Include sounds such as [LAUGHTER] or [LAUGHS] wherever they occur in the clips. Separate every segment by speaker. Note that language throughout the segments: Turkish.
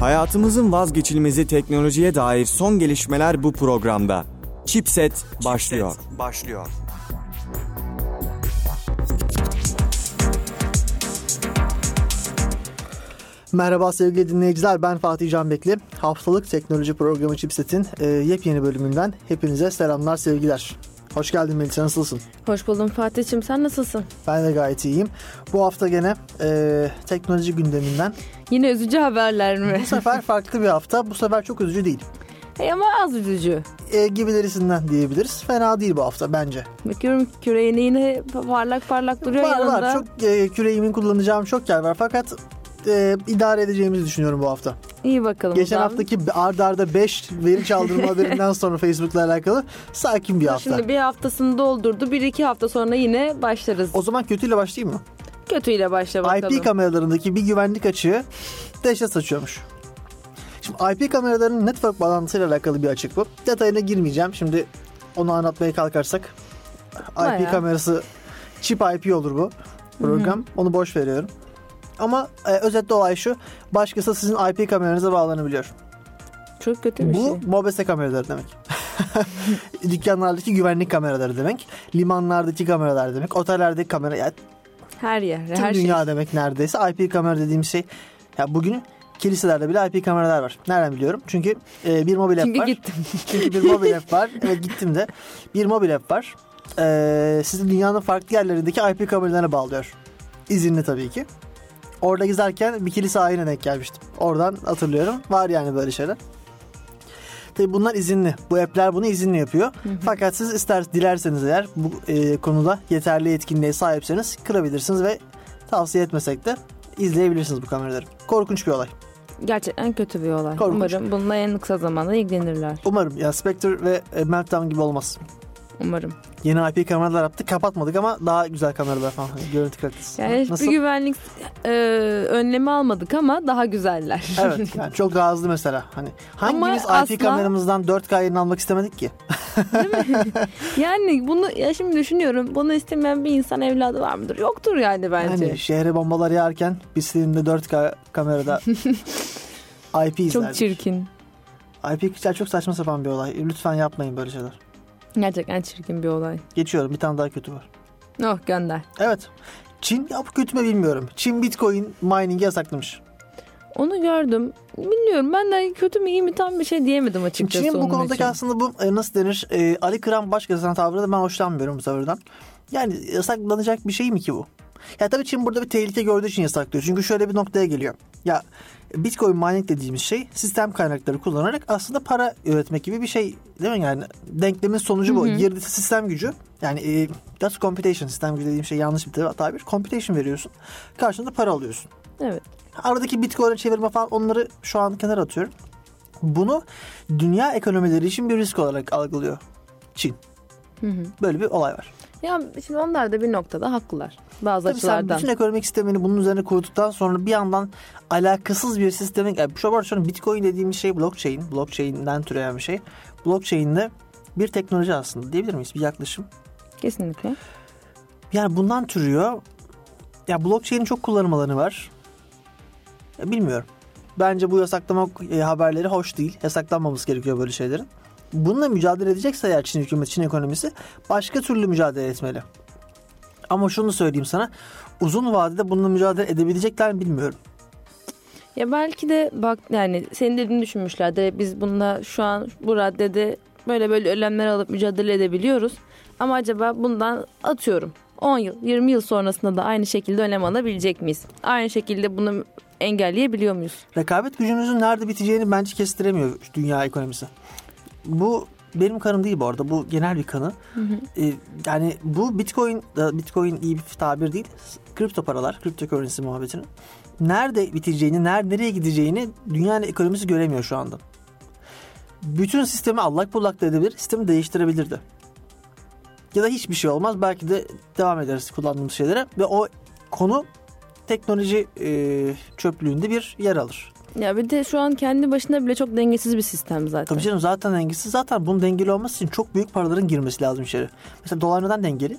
Speaker 1: Hayatımızın vazgeçilmezi teknolojiye dair son gelişmeler bu programda. Chipset başlıyor. Başlıyor.
Speaker 2: Merhaba sevgili dinleyiciler ben Fatih Canbekli. Haftalık teknoloji programı Chipset'in e, yepyeni bölümünden hepinize selamlar sevgiler. Hoş geldin Melisa nasılsın?
Speaker 3: Hoş buldum Fatih'im sen nasılsın?
Speaker 2: Ben de gayet iyiyim. Bu hafta gene e, teknoloji gündeminden.
Speaker 3: Yine üzücü
Speaker 2: [LAUGHS]
Speaker 3: haberler mi?
Speaker 2: Bu sefer farklı bir hafta. Bu sefer çok üzücü değil.
Speaker 3: E ama az üzücü.
Speaker 2: E, gibilerinden diyebiliriz. Fena değil bu hafta bence.
Speaker 3: Bakıyorum küreğine yine parlak parlak duruyor
Speaker 2: var
Speaker 3: yanında.
Speaker 2: var. Çok e, küreğimin kullanacağım çok yer var fakat e, idare edeceğimizi düşünüyorum bu hafta.
Speaker 3: İyi bakalım.
Speaker 2: Geçen
Speaker 3: o zaman.
Speaker 2: haftaki ardarda arda 5 veri çaldırma haberinden sonra Facebook'la alakalı sakin bir hafta.
Speaker 3: Şimdi bir haftasını doldurdu. Bir iki hafta sonra yine başlarız.
Speaker 2: O zaman kötüyle başlayayım mı?
Speaker 3: Kötüyle başla bakalım.
Speaker 2: IP kameralarındaki bir güvenlik açığı dehşet saçıyormuş. Şimdi IP kameralarının network bağlantısıyla alakalı bir açık bu. Detayına girmeyeceğim. Şimdi onu anlatmaya kalkarsak IP
Speaker 3: Bayağı.
Speaker 2: kamerası çip IP olur bu program. Onu boş veriyorum. Ama e, özetle olay şu. Başkası sizin IP kameranıza bağlanabiliyor.
Speaker 3: Çok kötü bir
Speaker 2: Bu
Speaker 3: şey.
Speaker 2: mobese kameraları demek. [LAUGHS] Dükkanlardaki güvenlik kameraları demek. Limanlardaki kameralar demek. Otellerdeki kamera. ya
Speaker 3: Her yer,
Speaker 2: Tüm
Speaker 3: her şey.
Speaker 2: dünya demek neredeyse IP kamera dediğim şey. Ya bugün kiliselerde bile IP kameralar var. Nereden biliyorum? Çünkü e, bir mobil app
Speaker 3: Çünkü
Speaker 2: var.
Speaker 3: gittim.
Speaker 2: Çünkü bir mobil app
Speaker 3: [LAUGHS]
Speaker 2: var. Evet gittim de. Bir mobil app var. E, sizi dünyanın farklı yerlerindeki IP kameralarına bağlıyor. İzinli tabii ki. Orada gezerken bir kilise ayine denk gelmiştim. Oradan hatırlıyorum. Var yani böyle şeyler. Tabii bunlar izinli. Bu app'ler bunu izinli yapıyor. Fakat siz ister dilerseniz eğer bu e, konuda yeterli yetkinliğe sahipseniz kırabilirsiniz ve tavsiye etmesek de izleyebilirsiniz bu kameraları. Korkunç bir olay.
Speaker 3: Gerçekten kötü bir olay.
Speaker 2: Korkunç.
Speaker 3: Umarım bununla en kısa zamanda ilgilenirler.
Speaker 2: Umarım ya Spectre ve e, Meltdown gibi olmaz.
Speaker 3: Umarım.
Speaker 2: Yeni IP kameralar yaptık. Kapatmadık ama daha güzel kameralar falan. Hani Görüntü kalitesi.
Speaker 3: Yani hiçbir
Speaker 2: Nasıl?
Speaker 3: güvenlik e, önlemi almadık ama daha güzeller. [LAUGHS]
Speaker 2: evet yani çok daha hızlı mesela. Hani
Speaker 3: Ama
Speaker 2: hangimiz IP
Speaker 3: asla-
Speaker 2: kameramızdan 4K yayın almak istemedik ki?
Speaker 3: Yani bunu ya şimdi düşünüyorum. Bunu istemeyen bir insan evladı var mıdır? Yoktur yani bence.
Speaker 2: Hani şehre bombalar yağarken biz de 4K
Speaker 3: [LAUGHS]
Speaker 2: kamerada IP izlerdik.
Speaker 3: Çok çirkin.
Speaker 2: IP kişiler çok saçma sapan bir olay. Lütfen yapmayın böyle şeyler.
Speaker 3: Gerçekten çirkin bir olay.
Speaker 2: Geçiyorum bir tane daha kötü var.
Speaker 3: Oh gönder.
Speaker 2: Evet. Çin ya bu kötü mü bilmiyorum. Çin Bitcoin mining'i yasaklamış.
Speaker 3: Onu gördüm. Bilmiyorum ben de kötü mü iyi mi tam bir şey diyemedim
Speaker 2: Şimdi
Speaker 3: açıkçası.
Speaker 2: Çin
Speaker 3: onun
Speaker 2: bu konudaki
Speaker 3: için.
Speaker 2: aslında bu e, nasıl denir? E, Ali Kıran başkasının tavrı da ben hoşlanmıyorum bu tavırdan. Yani yasaklanacak bir şey mi ki bu? Ya tabii Çin burada bir tehlike gördüğü için yasaklıyor. Çünkü şöyle bir noktaya geliyor. Ya Bitcoin mining dediğimiz şey sistem kaynakları kullanarak aslında para üretmek gibi bir şey değil mi? Yani denklemin sonucu bu. Girdisi sistem gücü. Yani e, that's computation sistem gücü dediğim şey yanlış bir tabir. Computation veriyorsun. Karşılığında para alıyorsun.
Speaker 3: Evet.
Speaker 2: Aradaki bitcoin'e çevirme falan onları şu an kenara atıyorum. Bunu dünya ekonomileri için bir risk olarak algılıyor Çin. Böyle bir olay var.
Speaker 3: Ya şimdi onlar da bir noktada haklılar. Bazı
Speaker 2: Tabii sen
Speaker 3: açılardan.
Speaker 2: bütün ekonomik sistemini bunun üzerine kurduktan sonra bir yandan alakasız bir sistemin... Yani şu an- şu an bitcoin dediğimiz şey blockchain. Blockchain'den türeyen bir şey. Blockchain'de bir teknoloji aslında diyebilir miyiz? Bir yaklaşım.
Speaker 3: Kesinlikle.
Speaker 2: Yani bundan türüyor. Ya blockchain'in çok kullanım alanı var. Ya bilmiyorum. Bence bu yasaklama e, haberleri hoş değil. Yasaklanmaması gerekiyor böyle şeylerin. Bununla mücadele edecekse eğer Çin hükümeti, Çin ekonomisi başka türlü mücadele etmeli. Ama şunu söyleyeyim sana. Uzun vadede bununla mücadele edebilecekler mi bilmiyorum.
Speaker 3: Ya belki de bak yani senin dediğini düşünmüşlerdir. E, Biz bununla şu an bu raddede böyle böyle önlemler alıp mücadele edebiliyoruz. Ama acaba bundan atıyorum 10 yıl 20 yıl sonrasında da aynı şekilde önlem alabilecek miyiz? Aynı şekilde bunu engelleyebiliyor muyuz?
Speaker 2: Rekabet gücümüzün nerede biteceğini bence kestiremiyor dünya ekonomisi. Bu benim kanım değil bu arada. Bu genel bir kanı. Ee, yani bu Bitcoin, e, Bitcoin iyi bir tabir değil. Kripto paralar, kripto currency muhabbetinin. Nerede biteceğini, nerede nereye gideceğini dünyanın ekonomisi göremiyor şu anda. Bütün sistemi allak bullak da edebilir, sistemi değiştirebilirdi. Ya da hiçbir şey olmaz. Belki de devam ederiz kullandığımız şeylere. Ve o konu teknoloji e, çöplüğünde bir yer alır.
Speaker 3: Ya bir de şu an kendi başına bile çok dengesiz bir sistem zaten.
Speaker 2: Tabii canım zaten dengesiz. Zaten bunun dengeli olması için çok büyük paraların girmesi lazım içeri. Mesela dolar neden dengeli?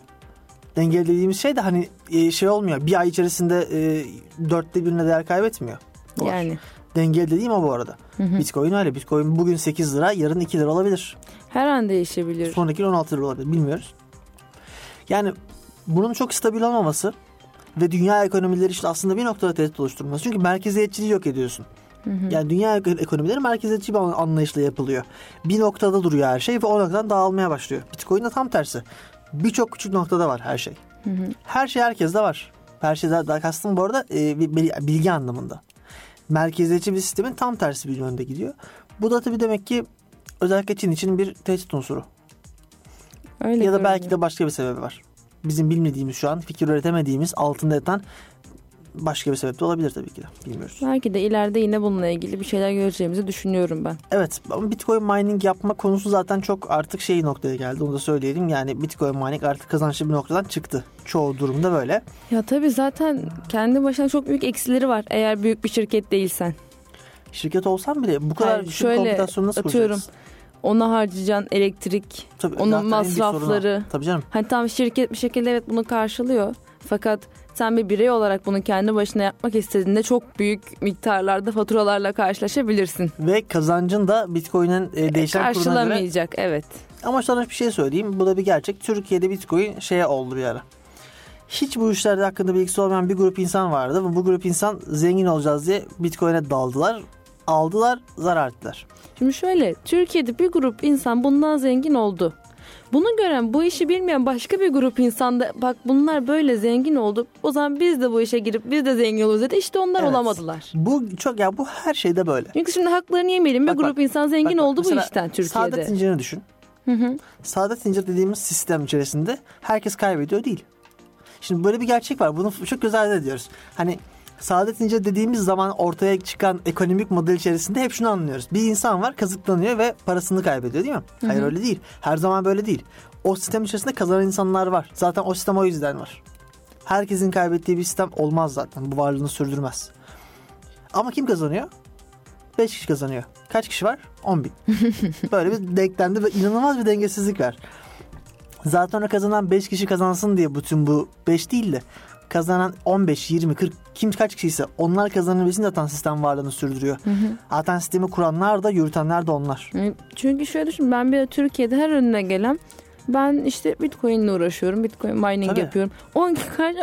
Speaker 2: Dengeli dediğimiz şey de hani e, şey olmuyor. Bir ay içerisinde e, dörtte birine değer kaybetmiyor. Dolar.
Speaker 3: Yani
Speaker 2: Dengeli dediğim o bu arada. Bitcoin öyle. Bitcoin bugün 8 lira yarın 2 lira olabilir.
Speaker 3: Her an değişebilir.
Speaker 2: Sonraki gün 16 lira olabilir. Bilmiyoruz. Yani bunun çok stabil olmaması ve dünya ekonomileri işte aslında bir noktada tehdit oluşturması. Çünkü merkeziyetçiliği yok ediyorsun. Yani dünya ek- ekonomileri merkeziyetçi bir an- anlayışla yapılıyor. Bir noktada duruyor her şey ve o noktadan dağılmaya başlıyor. Bitcoin de tam tersi. Birçok küçük noktada var her şey. Her şey herkeste var. Her şey daha, daha kastım bu arada e, bir- bir- bilgi anlamında. Merkeziyetçi bir sistemin tam tersi bir yönde gidiyor. Bu da tabii demek ki özellikle Çin için bir tehdit unsuru.
Speaker 3: Öyle
Speaker 2: ya da belki
Speaker 3: görünüyor.
Speaker 2: de başka bir sebebi var. Bizim bilmediğimiz şu an fikir üretemediğimiz altında yatan başka bir sebep de olabilir tabii ki de. Bilmiyoruz.
Speaker 3: Belki de ileride yine bununla ilgili bir şeyler göreceğimizi düşünüyorum ben.
Speaker 2: Evet ama Bitcoin mining yapma konusu zaten çok artık şey noktaya geldi. Onu da söyleyelim. Yani Bitcoin mining artık kazançlı bir noktadan çıktı. Çoğu durumda böyle.
Speaker 3: Ya tabii zaten kendi başına çok büyük eksileri var eğer büyük bir şirket değilsen.
Speaker 2: Şirket olsam bile bu kadar
Speaker 3: Hayır,
Speaker 2: düşük
Speaker 3: şöyle
Speaker 2: kompütasyonu nasıl
Speaker 3: atıyorum.
Speaker 2: kuracaksın?
Speaker 3: Ona harcayacağın elektrik.
Speaker 2: Tabii,
Speaker 3: Onun
Speaker 2: zaten en büyük
Speaker 3: masrafları.
Speaker 2: sorunu o. Tabii canım.
Speaker 3: Hani tam şirket bir şekilde evet bunu karşılıyor. Fakat sen bir birey olarak bunu kendi başına yapmak istediğinde çok büyük miktarlarda faturalarla karşılaşabilirsin.
Speaker 2: Ve kazancın da Bitcoin'in e, değişen kuruna göre
Speaker 3: Karşılamayacak evet.
Speaker 2: Ama sana bir şey söyleyeyim. Bu da bir gerçek. Türkiye'de Bitcoin şeye oldu bir ara. Hiç bu işlerde hakkında bilgisi olmayan bir grup insan vardı. Bu- Bu grup insan zengin olacağız diye Bitcoin'e daldılar. Aldılar, zarar ettiler.
Speaker 3: Şimdi şöyle Türkiye'de bir grup insan bundan zengin oldu. Bunu gören bu işi bilmeyen başka bir grup insan da bak bunlar böyle zengin oldu. O zaman biz de bu işe girip biz de zengin oluruz dedi. İşte onlar
Speaker 2: Evet.
Speaker 3: olamadılar.
Speaker 2: Bu çok ya bu her şeyde böyle.
Speaker 3: Çünkü şimdi haklarını yemeyelim. Bir
Speaker 2: Bak, bak,
Speaker 3: grup insan zengin
Speaker 2: Bak, bak,
Speaker 3: oldu bu
Speaker 2: mesela
Speaker 3: işten Türkiye'de.
Speaker 2: Saadet zincirini düşün.
Speaker 3: Hı hı.
Speaker 2: Saadet zincir dediğimiz sistem içerisinde herkes kaybediyor değil. Şimdi böyle bir gerçek var. Bunu çok göz ardı ediyoruz. Hani saadet zincir dediğimiz zaman ortaya çıkan ekonomik model içerisinde hep şunu anlıyoruz. Bir insan var kazıklanıyor ve parasını kaybediyor değil mi? Hayır öyle değil. Her zaman böyle değil. O sistem içerisinde kazanan insanlar var. Zaten o sistem o yüzden var. Herkesin kaybettiği bir sistem olmaz zaten. Bu varlığını sürdürmez. Ama kim kazanıyor? 5 kişi kazanıyor. Kaç kişi var? 10 bin. Böyle bir denklemde ve inanılmaz bir dengesizlik var. Zaten o kazanan 5 kişi kazansın diye bütün bu 5 değil de kazanan 15, 20, 40 kim kaç kişiyse onlar kazanabilsin de zaten sistem varlığını sürdürüyor. Zaten sistemi kuranlar da yürütenler de onlar.
Speaker 3: Yani Çünkü şöyle düşün ben bir Türkiye'de her önüne gelen ben işte Bitcoin'le uğraşıyorum. Bitcoin mining
Speaker 2: Tabii.
Speaker 3: yapıyorum. [LAUGHS] 10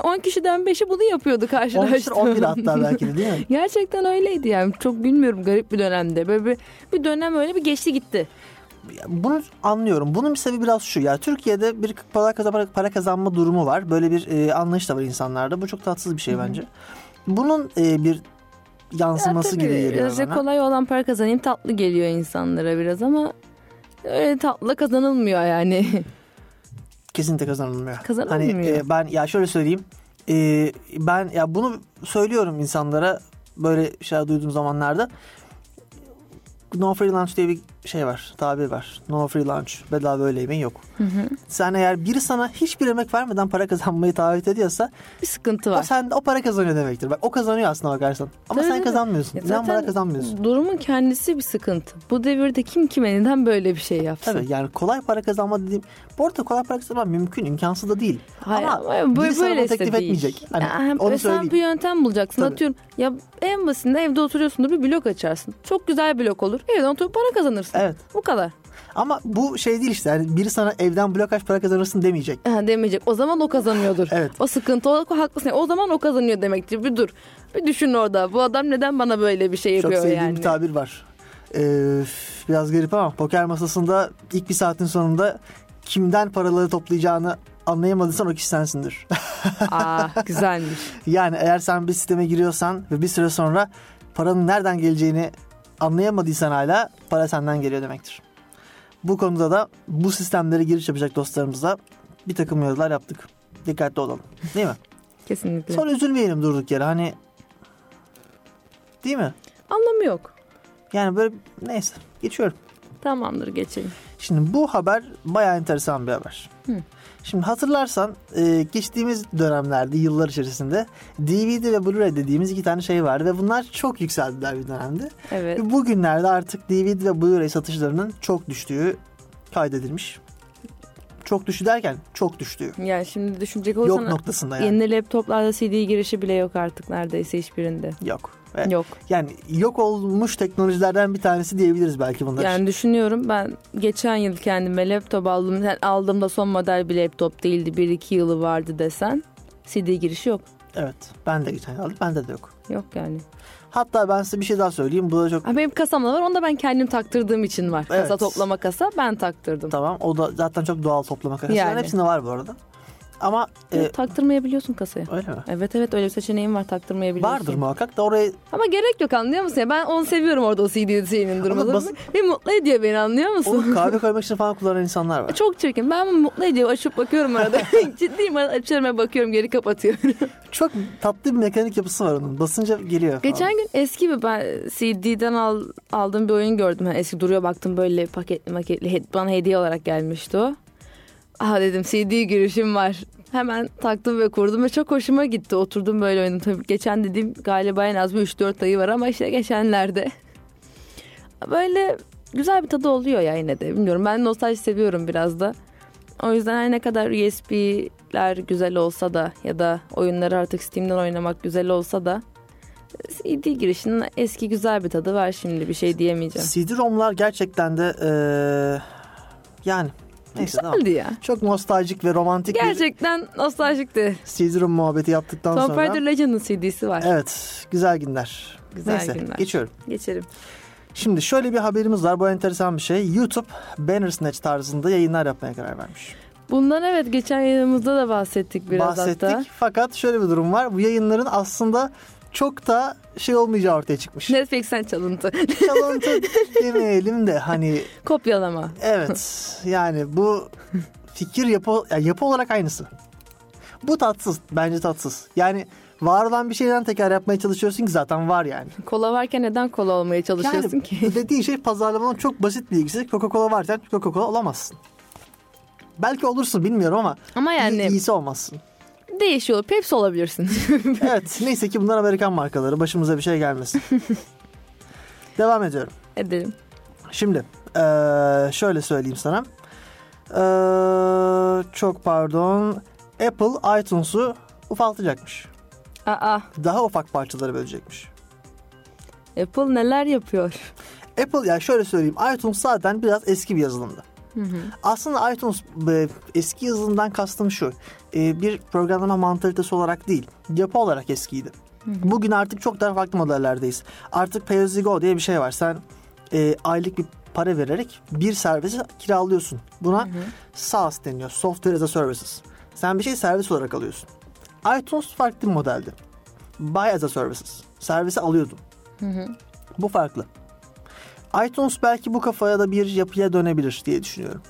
Speaker 3: 10 kişiden 5'i bunu yapıyordu
Speaker 2: 10
Speaker 3: karşılaştığım.
Speaker 2: kişi 11 hatta belki de değil mi?
Speaker 3: [LAUGHS] Gerçekten öyleydi yani. Çok bilmiyorum garip bir dönemde. Böyle bir, bir dönem öyle bir geçti gitti.
Speaker 2: bunu anlıyorum. Bunun bir sebebi biraz şu. Ya Türkiye'de bir para kazanma, para kazanma durumu var. Böyle bir e, anlayış da var insanlarda. Bu çok tatsız bir şey bence. Bunun e, bir yansıması gibi geliyor
Speaker 3: Birazcık
Speaker 2: bana.
Speaker 3: kolay olan para kazanayım tatlı geliyor insanlara biraz ama öyle tatlı kazanılmıyor yani. [LAUGHS]
Speaker 2: Kesinlikle kazanılmıyor.
Speaker 3: Kazanılmıyor.
Speaker 2: Hani e, ben ya şöyle söyleyeyim. E, ben ya bunu söylüyorum insanlara böyle şeyler duyduğum zamanlarda. No free lunch diye bir şey var, tabir var. No free lunch, bedava öğle yemeği yok. Sen eğer biri sana hiçbir emek vermeden para kazanmayı taahhüt ediyorsa
Speaker 3: bir sıkıntı
Speaker 2: O
Speaker 3: var.
Speaker 2: sen o para kazanıyor demektir. Bak o kazanıyor aslında bakarsan. Ama
Speaker 3: Tabii,
Speaker 2: sen
Speaker 3: tabii.
Speaker 2: kazanmıyorsun.
Speaker 3: Ya
Speaker 2: Sen para
Speaker 3: zaten
Speaker 2: kazanmıyorsun.
Speaker 3: Durumun kendisi bir sıkıntı. Bu devirde kim kime neden böyle bir şey yapsın?
Speaker 2: Tabii yani kolay para kazanma dediğim. Bu arada kolay para kazanma mümkün, imkansız da değil.
Speaker 3: Hayır,
Speaker 2: ama
Speaker 3: ama
Speaker 2: biri
Speaker 3: böyle
Speaker 2: sana bunu
Speaker 3: böylesi de
Speaker 2: teklif
Speaker 3: değil.
Speaker 2: etmeyecek. Hani
Speaker 3: Ya,
Speaker 2: onu
Speaker 3: sen
Speaker 2: söyleyeyim.
Speaker 3: bir yöntem bulacaksın.
Speaker 2: Tabii.
Speaker 3: Atıyorum ya en basitinde evde oturuyorsundur bir blok açarsın. Çok güzel blok olur. Evden oturup para kazanırsın.
Speaker 2: Evet.
Speaker 3: Bu kadar.
Speaker 2: Ama bu şey değil işte. Yani biri sana evden blok aç para kazanırsın demeyecek.
Speaker 3: Ha, demeyecek. O zaman o kazanıyordur.
Speaker 2: [LAUGHS] Evet.
Speaker 3: O sıkıntı o o haklısın. O zaman o kazanıyor demektir. Bir dur. Bir düşün orada. Bu adam neden bana böyle bir
Speaker 2: Çok
Speaker 3: şey yapıyor
Speaker 2: sevdiğim
Speaker 3: yani?
Speaker 2: bir tabir var. Ee, biraz garip ama poker masasında ilk bir saatin sonunda kimden paraları toplayacağını anlayamadıysan o kişi sensindir.
Speaker 3: Aa,
Speaker 2: [LAUGHS]
Speaker 3: Ah, güzelmiş.
Speaker 2: Yani eğer sen bir sisteme giriyorsan ve bir süre sonra paranın nereden geleceğini anlayamadıysan hala para senden geliyor demektir. Bu konuda da bu sistemlere giriş yapacak dostlarımıza bir takım uyarılar yaptık. Dikkatli olalım. Değil mi?
Speaker 3: Kesinlikle.
Speaker 2: Sonra üzülmeyelim durduk yere. Hani değil mi?
Speaker 3: Anlamı yok.
Speaker 2: Yani böyle neyse geçiyorum.
Speaker 3: Tamamdır geçelim.
Speaker 2: Şimdi bu haber bayağı enteresan bir haber. Şimdi hatırlarsan e, geçtiğimiz dönemlerde, yıllar içerisinde DVD ve Blu-ray dediğimiz iki tane şey vardı ve bunlar çok yükseldiler bir dönemde.
Speaker 3: Evet.
Speaker 2: Ve Bugünlerde artık DVD ve Blu-ray satışlarının çok düştüğü kaydedilmiş. Çok düştü derken çok düştü.
Speaker 3: Yani şimdi düşünecek
Speaker 2: Yok
Speaker 3: olursan
Speaker 2: noktasında yani.
Speaker 3: yeni laptoplarda CD girişi bile yok artık neredeyse hiçbirinde.
Speaker 2: Yok. Ve
Speaker 3: Yok.
Speaker 2: Yani yok olmuş teknolojilerden bir tanesi diyebiliriz belki bunlar. için.
Speaker 3: Yani düşünüyorum ben geçen yıl kendime laptop aldım. Yani aldığımda son model bir laptop değildi. 1-2 yılı vardı desen CD girişi yok.
Speaker 2: Evet. Ben de geçen aldım. Bende de yok.
Speaker 3: Yok yani.
Speaker 2: Hatta ben size bir şey daha söyleyeyim. Bu da çok
Speaker 3: Ha, benim kasamda var. Onu da ben kendim taktırdığım için var.
Speaker 2: Evet.
Speaker 3: Kasa toplama kasa ben taktırdım.
Speaker 2: tamam. O da zaten çok doğal toplama kasası.
Speaker 3: Yani.
Speaker 2: Yani. Hepsinde var bu arada. Ama e,
Speaker 3: Yok, taktırmayabiliyorsun kasaya.
Speaker 2: öyle mi?
Speaker 3: Evet evet öyle bir seçeneğim var taktırmayabiliyorsun.
Speaker 2: Vardır muhakkak da oraya
Speaker 3: Ama gerek yok anlıyor musun? Ya ben onu seviyorum orada o CD şeyinin durmaları.
Speaker 2: basit-
Speaker 3: Bir mutlu ediyor beni anlıyor musun?
Speaker 2: onu kahve koymak için falan kullanan insanlar var.
Speaker 3: Çok çirkin. Ben bunu mutlu ediyor. Açıp
Speaker 2: [LAUGHS]
Speaker 3: bakıyorum arada. Ciddiyim. Açıyorum ve bakıyorum geri kapatıyorum.
Speaker 2: Çok tatlı bir mekanik yapısı var onun. Basınca geliyor. falan.
Speaker 3: Geçen gün eski bir ben CD'den al, aldığım bir oyun gördüm. Yani eski duruyor baktım böyle paketli maketli. He- Bana hediye olarak gelmişti o. Aha dedim CD girişim var. Hemen taktım ve kurdum ve çok hoşuma gitti. Oturdum böyle oynadım. Tabii geçen dediğim galiba en az bir 3-4 ayı var ama işte geçenlerde. Böyle güzel bir tadı oluyor ya yine de. Bilmiyorum ben nostalji seviyorum biraz da. O yüzden her ne kadar USB'ler güzel olsa da ya da oyunları artık Steam'den oynamak güzel olsa da CD girişinin eski güzel bir tadı var şimdi bir şey diyemeyeceğim.
Speaker 2: CD-ROM'lar gerçekten de e, yani neyse tamam.
Speaker 3: Güzeldi ya.
Speaker 2: Çok nostaljik ve romantik
Speaker 3: Gerçekten nostaljikti.
Speaker 2: bir CD-ROM muhabbeti yaptıktan
Speaker 3: Tomb
Speaker 2: sonra.
Speaker 3: Raider Legend'ın CD'si var.
Speaker 2: Evet, güzel günler.
Speaker 3: Güzel
Speaker 2: Neyse,
Speaker 3: günler.
Speaker 2: geçiyorum.
Speaker 3: Geçelim.
Speaker 2: Şimdi şöyle bir haberimiz var. Bu enteresan bir şey. YouTube Banner Snatch tarzında yayınlar yapmaya karar vermiş.
Speaker 3: Bundan evet geçen yayınımızda da bahsettik biraz
Speaker 2: Bahsettik.
Speaker 3: hatta.
Speaker 2: Fakat şöyle bir durum var. Bu yayınların aslında çok da şey olmayacağı ortaya çıkmış.
Speaker 3: Netflix'ten çalıntı. [LAUGHS]
Speaker 2: Çalıntı demeyelim de hani
Speaker 3: Kopyalama.
Speaker 2: evet yani bu fikir yapı, ya yapı olarak aynısı. Bu tatsız. Bence tatsız. Yani var olan bir şeyden tekrar yapmaya çalışıyorsun ki zaten var yani.
Speaker 3: Kola varken neden kola olmaya çalışıyorsun
Speaker 2: Yani
Speaker 3: ki?
Speaker 2: dediğin şey pazarlamanın çok basit bir ilgisi. Coca-Cola varken Coca-Cola olamazsın. Belki olursun bilmiyorum ama
Speaker 3: Ama
Speaker 2: iyi-
Speaker 3: yani
Speaker 2: iyisi olmazsın.
Speaker 3: değişiyor. Pepsi olabilirsin. [LAUGHS]
Speaker 2: evet neyse ki bunlar Amerikan markaları. Başımıza bir şey gelmesin. Devam ediyorum.
Speaker 3: Edelim.
Speaker 2: Şimdi eee, şöyle söyleyeyim sana. Eee, çok pardon. Apple iTunes'u ufaltacakmış.
Speaker 3: Aa
Speaker 2: Daha ufak parçalara bölecekmiş.
Speaker 3: Apple neler yapıyor?
Speaker 2: Apple ya şöyle söyleyeyim iTunes zaten biraz eski bir yazılımdı. Aslında iTunes e, eski yazılımdan kastım şu. e, Bir programlama mantalitesi olarak değil, yapı olarak eskiydi. Bugün artık çok daha farklı modellerdeyiz. Artık Pay As You Go diye bir şey var. Sen e, aylık bir para vererek bir servisi kiralıyorsun. Buna SaaS deniyor. Software as a Services. Sen bir şey servis olarak alıyorsun. iTunes farklı bir modeldi. Buy as a Services. Servisi alıyordun. Bu farklı iTunes belki bu kafaya da bir yapıya dönebilir diye düşünüyorum.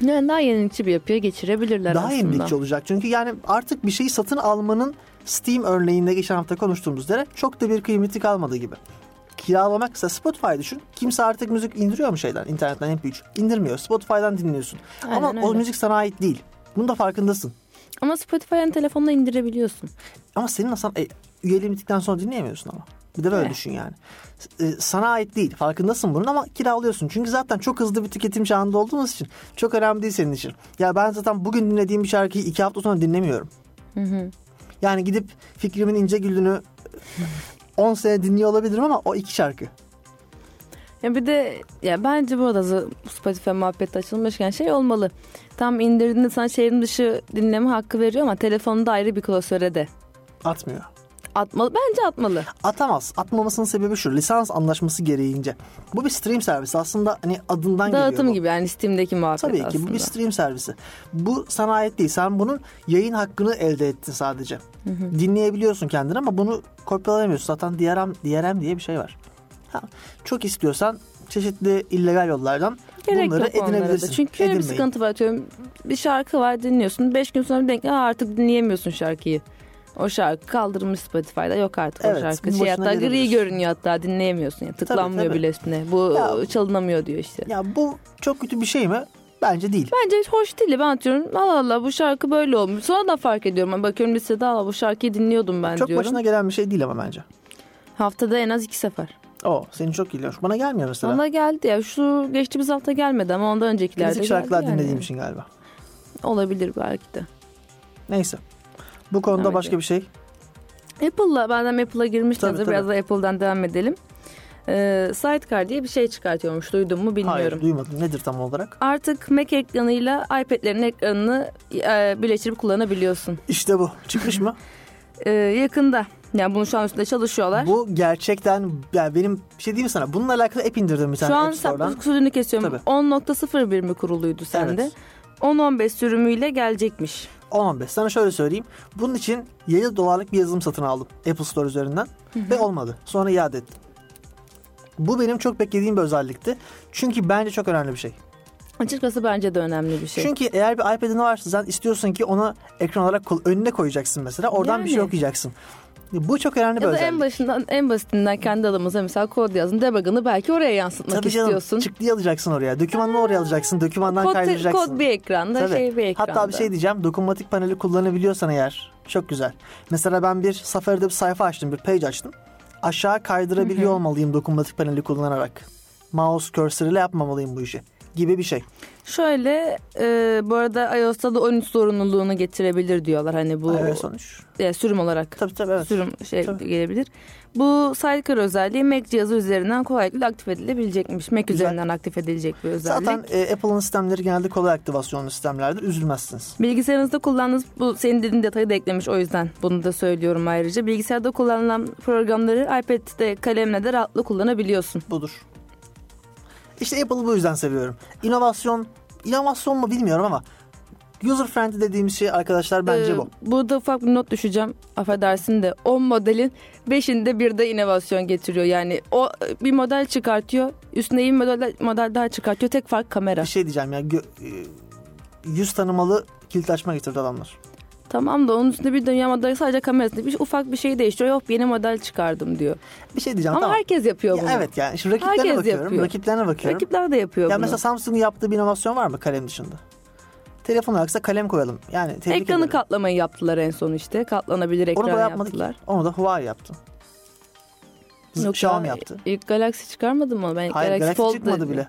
Speaker 3: Yani daha yenilikçi bir yapıya geçirebilirler
Speaker 2: Daha
Speaker 3: aslında.
Speaker 2: yenilikçi olacak. Çünkü yani artık bir şeyi satın almanın Steam örneğinde geçen hafta konuştuğumuz üzere çok da bir kıymeti kalmadı gibi. Kiralamak ise Spotify düşün. Kimse artık müzik indiriyor mu şeyden internetten MP3? İndirmiyor. Spotify'dan dinliyorsun.
Speaker 3: Aynen
Speaker 2: Ama o
Speaker 3: öyle.
Speaker 2: müzik sana ait değil. Bunun da farkındasın.
Speaker 3: Ama Spotify'ın telefonuna indirebiliyorsun.
Speaker 2: Ama senin aslında e, üyeliğin bittikten sonra dinleyemiyorsun ama. Bir de böyle
Speaker 3: Evet.
Speaker 2: düşün yani. S- e, sana ait değil. Farkındasın bunun ama kiralıyorsun. Çünkü zaten çok hızlı bir tüketim çağında olduğumuz için çok önemli değil senin için. Ya ben zaten bugün dinlediğim bir şarkıyı iki hafta sonra dinlemiyorum. Yani gidip Fikrim'in İnce
Speaker 3: [LAUGHS]
Speaker 2: Güldüğünü 10 sene dinliyor olabilirim ama o iki şarkı.
Speaker 3: Ya bir de ya bence burada z- Spotify muhabbeti açılmışken şey olmalı. Tam indirdiğinde sana şehrin dışı dinleme hakkı veriyor ama telefonda ayrı bir klasöre de.
Speaker 2: Atmıyor.
Speaker 3: Atmalı. Bence atmalı.
Speaker 2: Atamaz. Atmamasının sebebi şu. Lisans anlaşması gereğince. Bu bir stream servisi. Aslında hani adından geliyor.
Speaker 3: Dağıtım
Speaker 2: bu.
Speaker 3: gibi yani Steam'deki muhabbet
Speaker 2: Tabii
Speaker 3: aslında.
Speaker 2: ki bu bir stream servisi. Bu sana ait değil. Sen bunun yayın hakkını elde ettin sadece. Dinleyebiliyorsun kendini ama bunu kopyalayamıyorsun. Zaten DRM, DRM diye bir şey var. Ha, çok istiyorsan çeşitli illegal yollardan
Speaker 3: Gerek
Speaker 2: bunları
Speaker 3: yok onlara da.
Speaker 2: edinebilirsin.
Speaker 3: Çünkü şöyle bir
Speaker 2: Edinmeyin.
Speaker 3: sıkıntı var. Atıyorum, bir şarkı var dinliyorsun. Beş gün sonra bir denk, "Aa, artık dinleyemiyorsun şarkıyı. O şarkı kaldırılmış Spotify'da yok artık
Speaker 2: Evet,
Speaker 3: o şarkı.
Speaker 2: bir
Speaker 3: Şey
Speaker 2: başına
Speaker 3: hatta gri
Speaker 2: gelebilir.
Speaker 3: görünüyor hatta dinleyemiyorsun. Yani tıklanmıyor
Speaker 2: tabii.
Speaker 3: bile üstüne. Bu
Speaker 2: Ya-
Speaker 3: çalınamıyor diyor işte.
Speaker 2: Ya bu çok kötü bir şey mi? Bence değil.
Speaker 3: Bence hoş değil. Ben atıyorum Allah Allah bu şarkı böyle olmuş. Sonra da fark ediyorum. Ben bakıyorum lisede Allah bu şarkıyı dinliyordum ben
Speaker 2: çok
Speaker 3: diyorum.
Speaker 2: başına gelen bir şey değil ama bence.
Speaker 3: Haftada en az iki sefer.
Speaker 2: O seni çok geliyor. Bana gelmiyor mesela.
Speaker 3: Valla geldi ya. Şu geçtiğimiz hafta gelmedi ama ondan öncekilerde
Speaker 2: Klasik şarkılar
Speaker 3: geldi yani.
Speaker 2: dinlediğim için galiba.
Speaker 3: Olabilir belki de.
Speaker 2: Neyse. Bu konuda
Speaker 3: Evet.
Speaker 2: başka bir şey.
Speaker 3: Apple'la benden Apple'la girmişken
Speaker 2: Tabii,
Speaker 3: hazır
Speaker 2: tabii.
Speaker 3: biraz da Apple'dan devam edelim. Ee, Sidecar diye bir şey çıkartıyormuş. Duydun mu bilmiyorum.
Speaker 2: Hayır duymadım. Nedir tam olarak?
Speaker 3: Artık Mac ekranıyla iPad'lerin ekranını e, birleştirip kullanabiliyorsun.
Speaker 2: İşte bu. Çıkmış mı?
Speaker 3: Ee, yakında. Yani bunu şu an üstünde çalışıyorlar.
Speaker 2: bu gerçekten yani benim bir şey diyeyim mi sana? Bununla alakalı app indirdim bir tane
Speaker 3: şu an
Speaker 2: App Store'dan.
Speaker 3: saplık sürümünü kesiyorum.
Speaker 2: Tabii.
Speaker 3: 10.01 mi kuruluydu sende?
Speaker 2: Evet.
Speaker 3: 10-15 sürümüyle gelecekmiş.
Speaker 2: 10-15. Sana şöyle söyleyeyim. Bunun için 7 dolarlık bir yazılım satın aldım Apple Store üzerinden ve olmadı. Sonra iade ettim. Bu benim çok beklediğim bir özellikti. Çünkü bence çok önemli bir şey.
Speaker 3: Açıkçası bence de önemli bir şey.
Speaker 2: Çünkü eğer bir iPad'in varsa sen istiyorsun ki ona ekran olarak kol- önüne koyacaksın mesela. Oradan bir şey
Speaker 3: Yani.
Speaker 2: okuyacaksın. Bu çok önemli bir
Speaker 3: ya da
Speaker 2: özellik.
Speaker 3: en başından en basitinden kendi adımıza mesela kod yazdın. Debug'ını belki oraya yansıtmak
Speaker 2: Tabii canım
Speaker 3: istiyorsun.
Speaker 2: çıktıyı alacaksın oraya. Dokümanını oraya alacaksın. Dokümandan
Speaker 3: Kod,
Speaker 2: kaydıracaksın.
Speaker 3: kod bir ekranda,
Speaker 2: Tabii.
Speaker 3: şey bir ekranda.
Speaker 2: Hatta bir şey diyeceğim. Dokunmatik paneli kullanabiliyorsan eğer çok güzel. Mesela ben bir Safari'de bir sayfa açtım, bir page açtım. Aşağı kaydırabiliyor olmalıyım dokunmatik paneli kullanarak. Mouse cursor ile yapmamalıyım bu işi gibi bir şey.
Speaker 3: Şöyle e, bu arada iOS'ta da 13 zorunluluğunu getirebilir diyorlar. Hani bu
Speaker 2: Evet Ee, sonuç.
Speaker 3: e, sürüm olarak.
Speaker 2: Tabii tabii evet.
Speaker 3: Sürüm şey
Speaker 2: Tabii.
Speaker 3: gelebilir. Bu sidecar özelliği Mac cihazı üzerinden kolaylıkla aktif edilebilecekmiş. Mac
Speaker 2: Güzel.
Speaker 3: üzerinden aktif edilecek bir özellik.
Speaker 2: Zaten e, Apple'ın sistemleri genelde kolay aktivasyonlu sistemlerdir. Üzülmezsiniz.
Speaker 3: Bilgisayarınızda kullandığınız bu senin dediğin detayı da eklemiş o yüzden bunu da söylüyorum ayrıca. Bilgisayarda kullanılan programları iPad'de kalemle de rahatlıkla kullanabiliyorsun.
Speaker 2: Budur. İşte Apple'ı bu yüzden seviyorum. İnovasyon, inovasyon mu bilmiyorum ama user friendly dediğimiz şey arkadaşlar bence
Speaker 3: Ee,
Speaker 2: bu.
Speaker 3: Burada ufak bir not düşeceğim. Affedersin de 10 modelin 5'inde bir de inovasyon getiriyor. Yani o e, bir model çıkartıyor. Üstüne iyi bir model, model daha çıkartıyor. Tek fark kamera.
Speaker 2: Bir şey diyeceğim ya gö- e, yüz tanımalı kilit açma getirdi adamlar.
Speaker 3: Tamam da onun üstünde bir dünya modeli sadece kamerasında bir ufak bir şey değiştiriyor. Yok yeni model çıkardım diyor.
Speaker 2: Bir şey diyeceğim
Speaker 3: Ama
Speaker 2: tamam.
Speaker 3: herkes yapıyor
Speaker 2: Ya
Speaker 3: bunu.
Speaker 2: evet yani şimdi rakiplerine
Speaker 3: Herkes
Speaker 2: bakıyorum.
Speaker 3: yapıyor.
Speaker 2: Rakiplerine bakıyorum.
Speaker 3: Rakipler de yapıyor
Speaker 2: ya
Speaker 3: bunu.
Speaker 2: mesela Samsung'un yaptığı bir inovasyon var mı kalem dışında? Telefon olaraksa kalem koyalım. Yani tebrik
Speaker 3: Ekranı
Speaker 2: ederim.
Speaker 3: katlamayı yaptılar en son işte. Katlanabilir ekran
Speaker 2: Onu da yapmadık.
Speaker 3: yaptılar.
Speaker 2: Onu da Huawei yaptı. Z-
Speaker 3: Yok
Speaker 2: Xiaomi
Speaker 3: ya,
Speaker 2: yaptı.
Speaker 3: İlk Galaxy çıkarmadı mı? Ben
Speaker 2: Hayır Galaxy,
Speaker 3: Fold
Speaker 2: çıkmadı bile.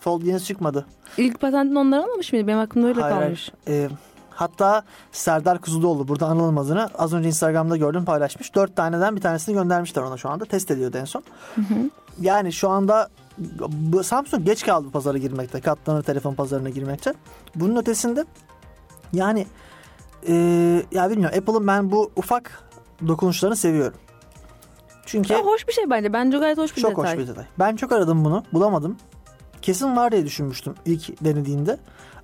Speaker 2: Fold yeni çıkmadı.
Speaker 3: İlk patentini onlar almamış mıydı? Benim aklımda öyle
Speaker 2: Hayır,
Speaker 3: kalmış.
Speaker 2: hayır. Ee, hatta Serdar Kuzuloğlu burada anılım adına az önce Instagram'da gördüm paylaşmış. Dört taneden bir tanesini göndermişler ona şu anda. Test ediyordu en son. Yani şu anda bu- Samsung geç kaldı bu pazara girmekte. Katlanır telefon pazarına girmekte. Bunun ötesinde yani e, ya bilmiyorum Apple'ın ben bu ufak dokunuşlarını seviyorum. Çünkü
Speaker 3: Ya hoş bir şey bence. Bence gayet hoş bir
Speaker 2: çok
Speaker 3: detay.
Speaker 2: hoş bir detay. Ben çok aradım bunu. Bulamadım. Kesin var diye düşünmüştüm ilk denediğimde.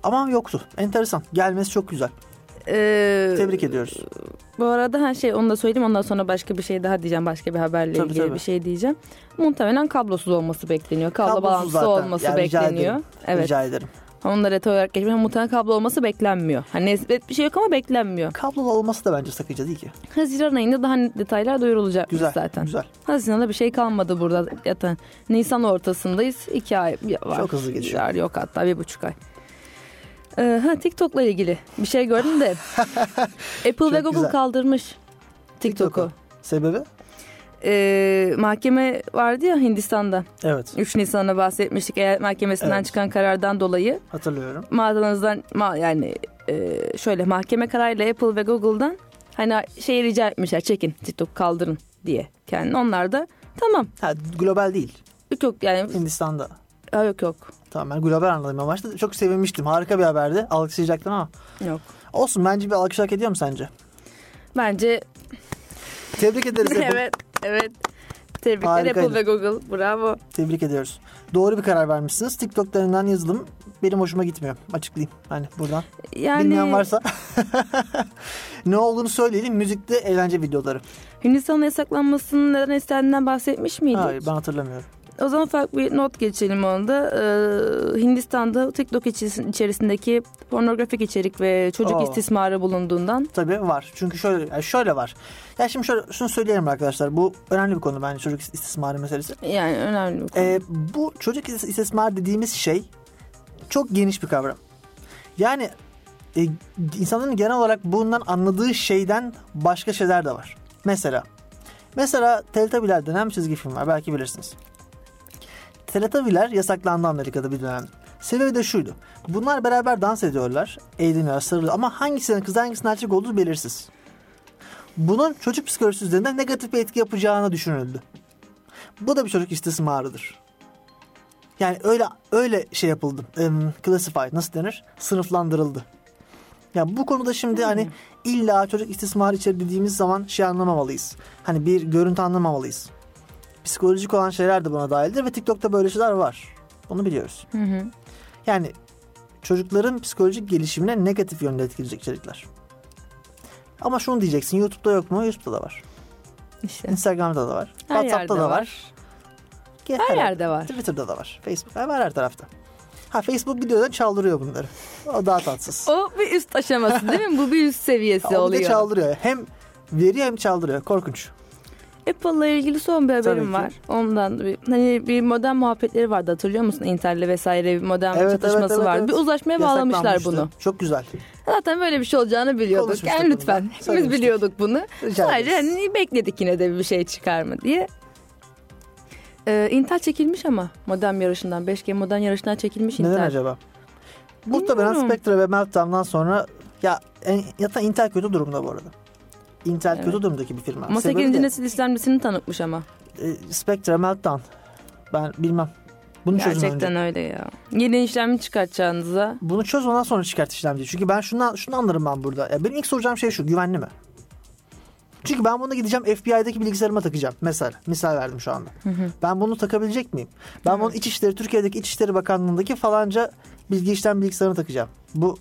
Speaker 2: Ama yoktu. Enteresan. Gelmesi çok güzel.
Speaker 3: Ee,
Speaker 2: Tebrik ediyoruz.
Speaker 3: Bu arada her şey onu da söyleyeyim. Ondan sonra başka bir şey daha diyeceğim. Başka bir haberle
Speaker 2: Tabii,
Speaker 3: ilgili
Speaker 2: tabii.
Speaker 3: bir şey diyeceğim. Muhtemelen kablosuz olması bekleniyor. Kablo
Speaker 2: Kablosuz
Speaker 3: bağlantısı
Speaker 2: zaten.
Speaker 3: olması
Speaker 2: Yani rica
Speaker 3: bekleniyor.
Speaker 2: ederim.
Speaker 3: Evet.
Speaker 2: Rica ederim.
Speaker 3: Onunla detay olarak geçmiş. Muhtemelen kablo olması beklenmiyor. Hani nispet bir şey yok ama beklenmiyor.
Speaker 2: Kablolu olması da bence sakınca değil ki.
Speaker 3: Haziran ayında daha net detaylar duyurulacak
Speaker 2: Güzel.
Speaker 3: zaten.
Speaker 2: Güzel.
Speaker 3: Haziran'da bir şey kalmadı burada zaten. Nisan ortasındayız. İki ay var.
Speaker 2: Çok hızlı geçiyor.
Speaker 3: Var, Yok hatta bir buçuk ay. Ee, ha TikTok'la ilgili bir şey
Speaker 2: [LAUGHS]
Speaker 3: gördüm de. Apple ve Google
Speaker 2: güzel.
Speaker 3: kaldırmış TikTok'u.
Speaker 2: TikTok'u. Sebebi?
Speaker 3: Ee, mahkeme vardı ya Hindistan'da.
Speaker 2: Evet.
Speaker 3: 3 Nisan'a bahsetmiştik. Eğer mahkemesinden
Speaker 2: Evet.
Speaker 3: çıkan karardan dolayı
Speaker 2: Hatırlıyorum.
Speaker 3: mağazanızdan ma- yani e, şöyle mahkeme kararıyla Apple ve Google'dan hani şey rica etmişler çekin TikTok kaldırın diye. Yani onlar da tamam
Speaker 2: Ha, global değil.
Speaker 3: Yok yok yani
Speaker 2: Hindistan'da.
Speaker 3: ha, yok yok.
Speaker 2: Tamam ben global anladım ama başta çok sevinmiştim. Harika bir haberdi. Alkışlayacaktım ama.
Speaker 3: Yok.
Speaker 2: Olsun bence bir alkış hak ediyor mu sence?
Speaker 3: Bence
Speaker 2: Tebrik ederiz. Apple.
Speaker 3: [LAUGHS] evet evet. Tebrikler
Speaker 2: Harikaydı.
Speaker 3: Apple ve Google. Bravo.
Speaker 2: Tebrik ediyoruz. Doğru bir karar vermişsiniz. TikTok'larından yazılım benim hoşuma gitmiyor. Açıklayayım. Hani buradan.
Speaker 3: Yani
Speaker 2: Bilmeyen varsa [LAUGHS] ne olduğunu söyleyelim. Müzikte eğlence videoları.
Speaker 3: Hindistan'ın yasaklanmasının neden istendiğinden bahsetmiş miydik?
Speaker 2: Hayır ben hatırlamıyorum.
Speaker 3: O zaman farklı bir not geçelim onda. Ee, Hindistan'da TikTok içi- içerisindeki pornografik içerik ve çocuk
Speaker 2: Aa.
Speaker 3: istismarı bulunduğundan
Speaker 2: Tabii var. Çünkü şöyle yani şöyle var. Ya şimdi şöyle şunu söyleyelim arkadaşlar. Bu önemli bir konu bence çocuk istismarı meselesi.
Speaker 3: yani önemli bir konu.
Speaker 2: Ee, bu çocuk istis- istismar dediğimiz şey çok geniş bir kavram. Yani e, insanların genel olarak bundan anladığı şeyden başka şeyler de var. Mesela mesela Teletubbies denen bir çizgi film var belki bilirsiniz. Teletubbies yasaklandı Amerika'da bir dönem. Sebebi de şuydu. Bunlar beraber dans ediyorlar, eğleniyorlar, sarılıyor ama hangisinin kız hangisinin erkek olduğu belirsiz. Bunun çocuk psikolojisi üzerinde negatif bir etki yapacağını düşünüldü. Bu da bir çocuk istismarıdır. Yani öyle öyle şey yapıldı. Em, classified nasıl denir? Sınıflandırıldı. Ya bu konuda şimdi hani
Speaker 3: Hmm.
Speaker 2: illa çocuk istismarı içerir dediğimiz zaman şey anlamamalıyız. Hani bir görüntü anlamamalıyız. Psikolojik olan şeyler de buna dahildir ve TikTok'ta böyle şeyler var. Bunu biliyoruz.
Speaker 3: Hı hı.
Speaker 2: Yani çocukların psikolojik gelişimine negatif yönde etkileyecek içerikler. Ama şunu diyeceksin YouTube'da yok mu? YouTube'da da var.
Speaker 3: İşte.
Speaker 2: Instagram'da da var.
Speaker 3: Her
Speaker 2: WhatsApp'ta
Speaker 3: yerde
Speaker 2: da var.
Speaker 3: var.
Speaker 2: Her,
Speaker 3: yerde var.
Speaker 2: Twitter'da da var. Facebook var her tarafta. Ha Facebook videodan çaldırıyor bunları. O daha tatsız.
Speaker 3: O bir üst aşaması değil mi? Bu bir üst seviyesi
Speaker 2: Ha, Onu da
Speaker 3: oluyor.
Speaker 2: çaldırıyor. Hem veriyor hem çaldırıyor. Korkunç.
Speaker 3: Apple'la ilgili son bir
Speaker 2: Tabii ki.
Speaker 3: haberim var. Ondan bir, hani bir modem muhabbetleri vardı hatırlıyor musun? Intel'le vesaire bir modem
Speaker 2: Evet, evet,
Speaker 3: çatışması
Speaker 2: evet,
Speaker 3: vardı.
Speaker 2: evet.
Speaker 3: Bir uzlaşmaya bağlamışlar
Speaker 2: Yasaklanmıştı.
Speaker 3: bunu.
Speaker 2: Çok güzel.
Speaker 3: Zaten böyle bir şey olacağını biliyorduk.
Speaker 2: Konuşmuştuk
Speaker 3: Yani
Speaker 2: bunu da.
Speaker 3: lütfen. Hepimiz
Speaker 2: Söylemiştik.
Speaker 3: biliyorduk bunu.
Speaker 2: Rica
Speaker 3: Sadece
Speaker 2: ederiz.
Speaker 3: hani bekledik yine de bir şey çıkar mı diye. Ee, Intel çekilmiş ama modem yarışından. 5G modem yarışından çekilmiş
Speaker 2: Neden
Speaker 3: Intel.
Speaker 2: acaba? Muhtemelen
Speaker 3: Bilmiyorum.
Speaker 2: Spectre ve Meltdown'dan sonra ya en, yata Intel kötü durumda bu arada. Intel
Speaker 3: Evet.
Speaker 2: kötü durumdaki bir firma.
Speaker 3: Ama
Speaker 2: Sebebi
Speaker 3: 8.
Speaker 2: de,
Speaker 3: nesil işlemcisini tanıtmış ama.
Speaker 2: e, Spectre, Meltdown. Ben bilmem. Bunu çözün önce.
Speaker 3: Gerçekten öyle ya. Yeni işlemci çıkartacağınıza.
Speaker 2: Bunu çöz ondan sonra çıkart işlemci. Çünkü ben şundan, şunu anlarım ben burada. Ya benim ilk soracağım şey şu güvenli mi? Çünkü ben bunu gideceğim FBI'deki bilgisayarıma takacağım. Mesela misal verdim şu anda. Ben bunu takabilecek miyim? Ben bunu İçişleri Türkiye'deki İçişleri Bakanlığı'ndaki falanca bilgi işlem bilgisayarına takacağım. Bu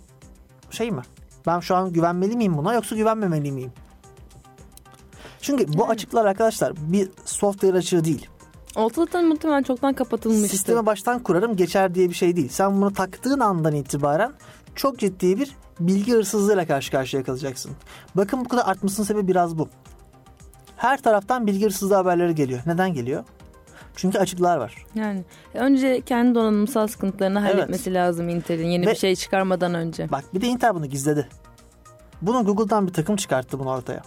Speaker 2: şey mi? Ben şu an güvenmeli miyim buna yoksa güvenmemeli miyim? Çünkü bu açıklar arkadaşlar bir software açığı değil.
Speaker 3: Ortalıktan muhtemelen çoktan kapatılmıştı.
Speaker 2: Sisteme baştan kurarım geçer diye bir şey değil. Sen bunu taktığın andan itibaren çok ciddi bir bilgi hırsızlığıyla karşı karşıya kalacaksın. Bakın bu kadar artmasının sebebi biraz bu. Her taraftan bilgi hırsızlığı haberleri geliyor. Neden geliyor? Çünkü açıklar var.
Speaker 3: Yani önce kendi donanımsal sıkıntılarını
Speaker 2: Evet.
Speaker 3: halletmesi lazım Intel'in yeni
Speaker 2: Ve-
Speaker 3: bir şey çıkarmadan önce.
Speaker 2: Bak bir de Intel bunu gizledi. Bunu Google'dan bir takım çıkarttı bunu ortaya.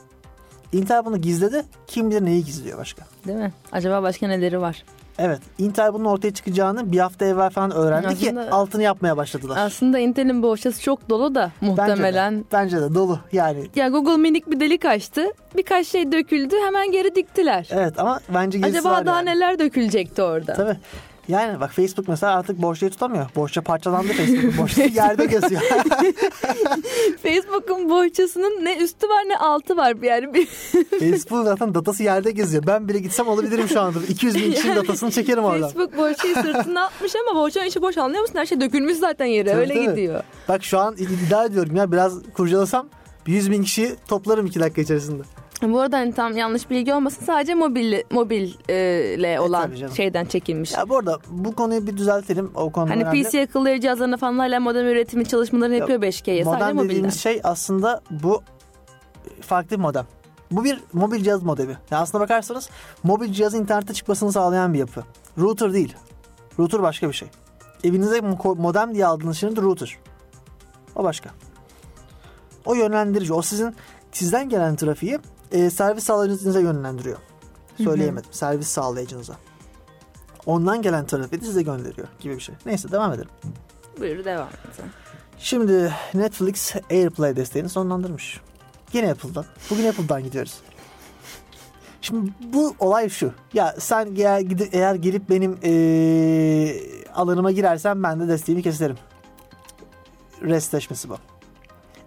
Speaker 2: Intel bunu gizledi. Kim bilir neyi gizliyor başka.
Speaker 3: Değil mi? Acaba başka neleri var?
Speaker 2: Evet Intel bunun ortaya çıkacağını bir hafta evvel falan öğrendi ki
Speaker 3: Aslında-
Speaker 2: altını yapmaya başladılar.
Speaker 3: Aslında Intel'in bohçası çok dolu da
Speaker 2: Bence de,
Speaker 3: muhtemelen.
Speaker 2: bence de dolu yani.
Speaker 3: Ya Google minik bir delik açtı. Birkaç şey döküldü hemen geri diktiler.
Speaker 2: Evet ama bence gizlisi var
Speaker 3: Acaba daha
Speaker 2: yani.
Speaker 3: neler dökülecekti orada?
Speaker 2: Tabii. Yani bak Facebook mesela artık borçluyu tutamıyor. Borçla parçalandı
Speaker 3: [LAUGHS]
Speaker 2: Facebook. Borçlu yerde geziyor. [LAUGHS]
Speaker 3: Facebook'un bohçasının ne üstü var ne altı var. Yani bir
Speaker 2: Facebook zaten datası yerde geziyor. Ben bile gitsem olabilirim şu anda. 200 bin
Speaker 3: [LAUGHS]
Speaker 2: kişinin datasını çekerim oradan.
Speaker 3: Facebook bohçayı sırtına atmış ama bohçanın içi boş anlıyor musun? Her şey dökülmüş zaten yere
Speaker 2: Tabii,
Speaker 3: öyle
Speaker 2: tabii.
Speaker 3: gidiyor.
Speaker 2: Bak şu an iddia ediyorum ya biraz kurcalasam 100 bin kişiyi toplarım 2 dakika içerisinde.
Speaker 3: Bu arada hani tam yanlış bilgi olmasın sadece mobil mobille olan
Speaker 2: E, tabii canım.
Speaker 3: şeyden çekilmiş.
Speaker 2: Ya bu arada bu konuyu bir düzeltelim. O konu
Speaker 3: Hani
Speaker 2: önemli.
Speaker 3: PC akıllı ev cihazlarına falan hala modem üretimi çalışmalarını yapıyor 5G'ye sadece
Speaker 2: Modem
Speaker 3: mobilden.
Speaker 2: dediğimiz şey aslında bu farklı bir modem. Bu bir mobil cihaz modemi. Yani aslına bakarsanız mobil cihazın internete çıkmasını sağlayan bir yapı. Router değil. Router başka bir şey. Evinize mo- modem diye aldığınız şeyin de router. O başka. O yönlendirici. O sizin sizden gelen trafiği e, servis sağlayıcınıza yönlendiriyor. Söyleyemedim. Servis sağlayıcınıza. Ondan gelen trafiği de size gönderiyor gibi bir şey. Neyse devam edelim.
Speaker 3: Buyur devam et. sen.
Speaker 2: Şimdi Netflix AirPlay desteğini sonlandırmış. Yine Apple'dan. Bugün Apple'dan gidiyoruz. Şimdi bu olay şu. Ya sen eğer, gidi- eğer gelip benim eee, alanıma girersen ben de desteğimi keserim. Restleşmesi bu.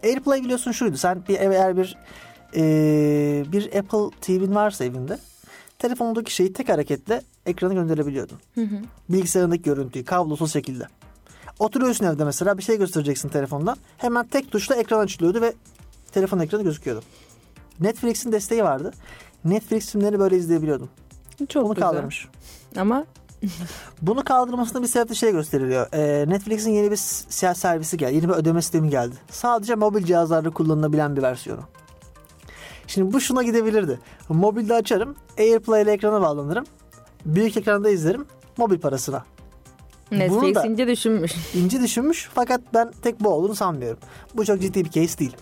Speaker 2: AirPlay biliyorsun şuydu. Sen bir eğer bir eee, bir Apple TV'nin varsa evinde telefonundaki şeyi tek hareketle ekrana gönderebiliyordun. Bilgisayarındaki görüntüyü kablosuz şekilde. Oturuyorsun evde mesela bir şey göstereceksin telefondan. Hemen tek tuşla ekran açılıyordu ve telefon ekranı gözüküyordu. Netflix'in desteği vardı. Netflix filmlerini böyle izleyebiliyordum.
Speaker 3: Çok
Speaker 2: Bunu
Speaker 3: güzel.
Speaker 2: kaldırmış.
Speaker 3: Ama
Speaker 2: Bunu kaldırmasında bir sebep de şey gösteriliyor. Ee, Netflix'in yeni bir siyah servisi geldi. Yeni bir ödeme sistemi geldi. Sadece mobil cihazlarda kullanılabilen bir versiyonu. Şimdi bu şuna gidebilirdi. Mobilde açarım. AirPlay ile ekrana bağlanırım. Büyük ekranda izlerim. Mobil parasına.
Speaker 3: Netflix
Speaker 2: da-
Speaker 3: ince
Speaker 2: [LAUGHS]
Speaker 3: düşünmüş.
Speaker 2: İnci düşünmüş fakat ben tek bu olduğunu sanmıyorum. Bu çok ciddi bir case değil.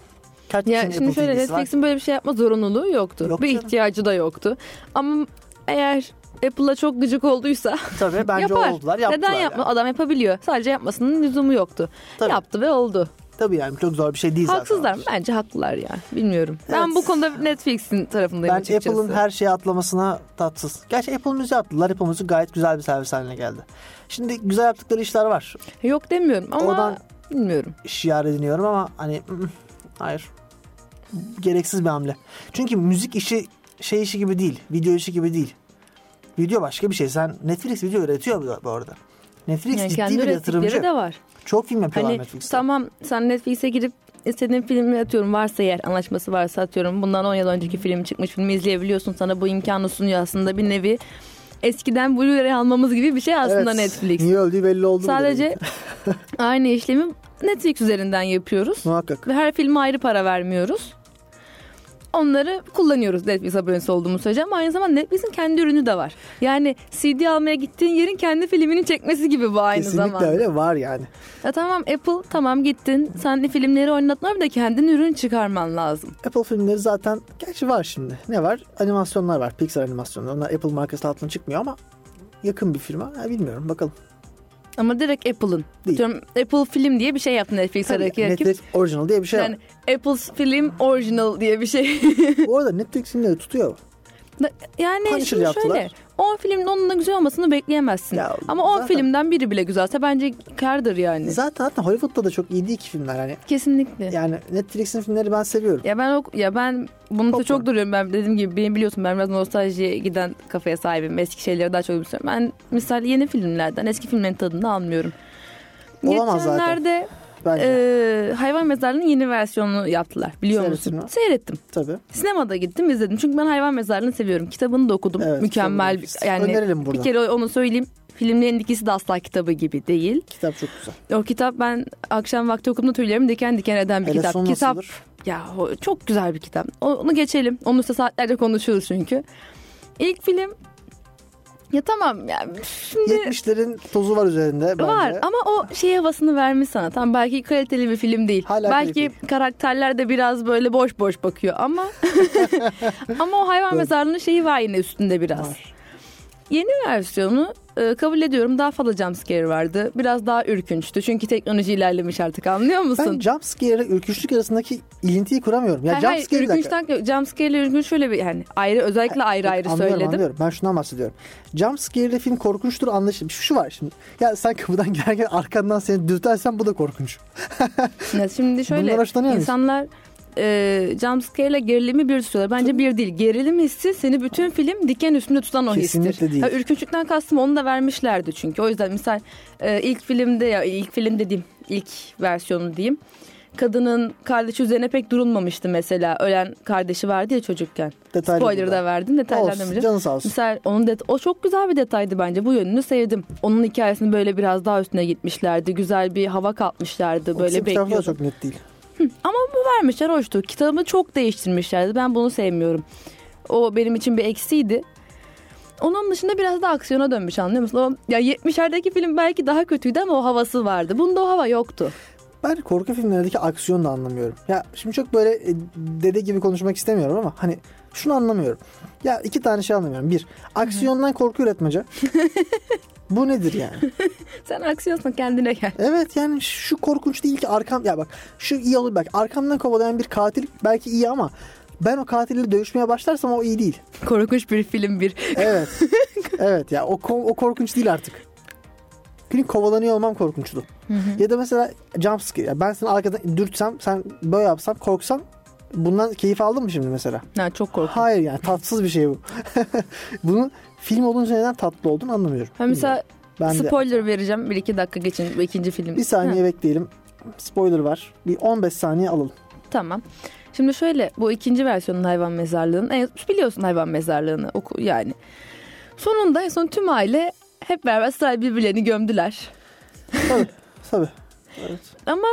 Speaker 2: Kaç
Speaker 3: Ya
Speaker 2: kişinin
Speaker 3: şimdi
Speaker 2: Apple
Speaker 3: şöyle
Speaker 2: TV'si var?
Speaker 3: Netflix'in böyle bir şey yapma zorunluluğu yoktu.
Speaker 2: Yok
Speaker 3: bir
Speaker 2: canım.
Speaker 3: ihtiyacı da yoktu. Ama eğer Apple'a çok gıcık olduysa
Speaker 2: Tabii bence
Speaker 3: yapar.
Speaker 2: oldular. Yaptılar
Speaker 3: Neden
Speaker 2: yani.
Speaker 3: yapma? Adam yapabiliyor. Sadece yapmasının lüzumu yoktu.
Speaker 2: Tabii.
Speaker 3: Yaptı ve oldu.
Speaker 2: Tabii yani çok zor bir şey değil
Speaker 3: Haksızlar mı?
Speaker 2: zaten.
Speaker 3: Bence haklılar ya. Bilmiyorum. Ben
Speaker 2: Evet.
Speaker 3: bu konuda Netflix'in tarafındayım
Speaker 2: Ben
Speaker 3: açıkçası.
Speaker 2: Apple'ın her şeye atlamasına tatsız. Gerçi Apple Müziği attılar. Apple Müziği gayet güzel bir servis haline geldi. Şimdi güzel yaptıkları işler var.
Speaker 3: Yok demiyorum ama
Speaker 2: Oradan-
Speaker 3: bilmiyorum.
Speaker 2: şiar ediniyorum ama hani ı-ı, hayır. Gereksiz bir hamle. Çünkü müzik işi şey işi gibi değil. Video işi gibi değil. Video başka bir şey. Sen Netflix video üretiyor bu- bu arada. Netflix
Speaker 3: Yani kendi
Speaker 2: ciddi bir yatırımcı.
Speaker 3: ürettikleri de var.
Speaker 2: Çok film yapıyorlar
Speaker 3: Hani
Speaker 2: Netflix'te.
Speaker 3: tamam sen Netflix'e girip istediğin filmi atıyorum varsa eğer anlaşması varsa atıyorum bundan 10 yıl önceki film çıkmış filmi izleyebiliyorsun sana bu imkanı sunuyor aslında bir nevi eskiden Blu-ray almamız gibi bir şey aslında
Speaker 2: Evet.
Speaker 3: Netflix.
Speaker 2: Niye öldüğü belli oldu. bile
Speaker 3: Sadece
Speaker 2: [LAUGHS] değil.
Speaker 3: aynı işlemi Netflix üzerinden yapıyoruz
Speaker 2: Muhakkak.
Speaker 3: ve her filme ayrı para vermiyoruz. Onları kullanıyoruz Netflix abonesi olduğumuz sürece ama aynı zamanda Netflix'in kendi ürünü de var. Yani CD almaya gittiğin yerin kendi filmini çekmesi gibi bu aynı
Speaker 2: Kesinlikle
Speaker 3: zamanda.
Speaker 2: öyle var yani.
Speaker 3: Ya tamam Apple tamam gittin. Sen de filmleri oynatma bir de kendin ürün çıkarman lazım.
Speaker 2: Apple filmleri zaten gerçi var şimdi. Ne var? Animasyonlar var. Pixar animasyonları. Onlar Apple markası altına çıkmıyor ama yakın bir firma. Ha, bilmiyorum bakalım.
Speaker 3: Ama direkt Apple'ın.
Speaker 2: Değil.
Speaker 3: Diyorum Apple film diye bir şey yaptı Netflix'teki rakip.
Speaker 2: Netflix original diye bir şey
Speaker 3: Yani Apple's film original diye bir şey. [LAUGHS]
Speaker 2: var. Bu arada Netflix'in de tutuyor.
Speaker 3: yani
Speaker 2: Punisher
Speaker 3: şimdi şöyle.
Speaker 2: yaptılar.
Speaker 3: 10 filmin onun da güzel olmasını bekleyemezsin.
Speaker 2: Ya
Speaker 3: Ama 10
Speaker 2: zaten-
Speaker 3: filmden biri bile güzelse bence kardır yani.
Speaker 2: Zaten zaten Hollywood'da da çok iyi değil ki filmler yani.
Speaker 3: Kesinlikle.
Speaker 2: Yani Netflix'in filmleri ben seviyorum.
Speaker 3: Ya ben o, ya ben bunu da
Speaker 2: Popcorn.
Speaker 3: çok duruyorum ben dediğim gibi benim biliyorsun ben biraz nostaljiye giden kafaya sahibim. Eski şeyleri daha çok istiyorum. Ben misal yeni filmlerden eski filmlerin tadını almıyorum.
Speaker 2: Olamaz zaten.
Speaker 3: Geçenlerde
Speaker 2: Bence
Speaker 3: e, Hayvan Mezarlığı'nın yeni versiyonunu yaptılar biliyor
Speaker 2: Seyrettin
Speaker 3: musun?
Speaker 2: mi?
Speaker 3: Seyrettim.
Speaker 2: tabii.
Speaker 3: Sinemada gittim izledim. Çünkü ben Hayvan Mezarlığı'nı seviyorum. Kitabını da okudum.
Speaker 2: Evet,
Speaker 3: Mükemmel.
Speaker 2: kitabı
Speaker 3: bir- Yani
Speaker 2: Önerelim
Speaker 3: bir
Speaker 2: burada.
Speaker 3: kere onu söyleyeyim. Filmlerin ikisi de asla kitabı gibi değil.
Speaker 2: Kitap çok güzel.
Speaker 3: O kitap ben akşam vakti okuduğumda tüylerim diken diken eden bir
Speaker 2: Hele
Speaker 3: kitap.
Speaker 2: son nasıldır?
Speaker 3: kitap ya o çok güzel bir kitap. O- Onu geçelim. Onu üstüne saatlerce konuşuruz çünkü. İlk film ya tamam ya şimdi
Speaker 2: 70'lerin tozu var üzerinde bence.
Speaker 3: var ama o şey havasını vermiş sana. Tam belki kaliteli bir film değil.
Speaker 2: Hala
Speaker 3: belki
Speaker 2: kaliteli.
Speaker 3: karakterler de biraz böyle boş boş bakıyor
Speaker 2: [LAUGHS]
Speaker 3: ama ama o hayvan
Speaker 2: Doğru.
Speaker 3: mezarlığının şeyi var yine üstünde biraz.
Speaker 2: Var.
Speaker 3: Yeni versiyonu e, kabul ediyorum daha fazla jumpscare vardı. Biraz daha ürkünçtü. Çünkü teknoloji ilerlemiş artık anlıyor musun?
Speaker 2: Ben jumpscare ürküşlük arasındaki ilintiyi kuramıyorum. Ya
Speaker 3: Hayır, hayır,
Speaker 2: jumpscare bir
Speaker 3: ürkünç
Speaker 2: dakika. e,
Speaker 3: dakika. Jumpscare ile ürkünç şöyle bir yani ayrı özellikle ayrı ayrı
Speaker 2: anlıyorum,
Speaker 3: söyledim.
Speaker 2: Anlıyorum. Ben şundan bahsediyorum. Jumpscare ile film korkunçtur anlaşılır. Şu var şimdi. Ya sen kapıdan girerken arkandan seni dürtersen bu da korkunç.
Speaker 3: Ya şimdi şöyle
Speaker 2: Bundan hoşlanıyor musun?
Speaker 3: insanlar e, jumpscare ile gerilimi bir tutuyorlar. Bence bir değil. Gerilim hissi seni bütün film diken üstünde tutan o histir.
Speaker 2: Kesinlikle değil.
Speaker 3: Ha, ürkünçlükten kastım onu da vermişlerdi çünkü. O yüzden misal e, ilk filmde ya ilk film dediğim ilk versiyonu diyeyim. Kadının kardeşi üzerine pek durulmamıştı mesela. Ölen kardeşi vardı ya çocukken.
Speaker 2: Detaylı
Speaker 3: Spoiler
Speaker 2: burada.
Speaker 3: da verdim detaylandırmayacağım.
Speaker 2: Olsun. Canın sağ olsun.
Speaker 3: Mesela onun det- o çok güzel bir detaydı bence. Bu yönünü sevdim. Onun hikayesini böyle biraz daha üstüne gitmişlerdi. Güzel bir hava katmışlardı. Böyle
Speaker 2: Bizim tarafı da
Speaker 3: bekliyordum.
Speaker 2: çok net değil.
Speaker 3: Vermişler hoştu. Kitabı çok değiştirmişlerdi. Ben bunu sevmiyorum. O benim için bir eksiydi. Onun dışında biraz da aksiyona dönmüş anlıyor musun? O, ya 70'lerdeki film belki daha kötüydü ama o havası vardı. Bunda o hava yoktu.
Speaker 2: Ben korku filmlerindeki aksiyonu da anlamıyorum. Ya şimdi çok böyle e, dede gibi konuşmak istemiyorum ama hani şunu anlamıyorum. Ya iki tane şey anlamıyorum. Bir, aksiyondan korku üretmece. Bu nedir yani?
Speaker 3: Sen aksiyonsun kendine gel. [LAUGHS]
Speaker 2: Evet yani şu korkunç değil ki arkam... Ya bak şu iyi olur bak arkamdan kovalayan bir katil belki iyi ama ben o katille dövüşmeye başlarsam o iyi değil.
Speaker 3: Korkunç bir film bir. [LAUGHS]
Speaker 2: Evet. evet ya o, ko- o korkunç değil artık. Benim kovalanıyor olmam korkunçtu. Ya da mesela jumpscare. Ya ben seni arkadan dürtsem, sen böyle yapsam, korksam bundan keyif aldın mı şimdi mesela?
Speaker 3: Ha, çok korkunç.
Speaker 2: Hayır yani tatsız bir şey bu. [LAUGHS] Bunu film olunca neden tatlı olduğunu anlamıyorum.
Speaker 3: Ha, mesela
Speaker 2: Bilmiyorum. ben de-
Speaker 3: spoiler vereceğim. Bir iki dakika geçin bu ikinci film.
Speaker 2: bir
Speaker 3: Ha.
Speaker 2: saniye bekleyelim. Spoiler var. Bir 15 saniye alalım.
Speaker 3: Tamam. Şimdi şöyle bu ikinci versiyonun hayvan mezarlığının en- biliyorsun hayvan mezarlığını oku yani. Sonunda en son tüm aile hep beraber sırayla birbirlerini gömdüler. [LAUGHS]
Speaker 2: Tabii. tabii.
Speaker 3: Ama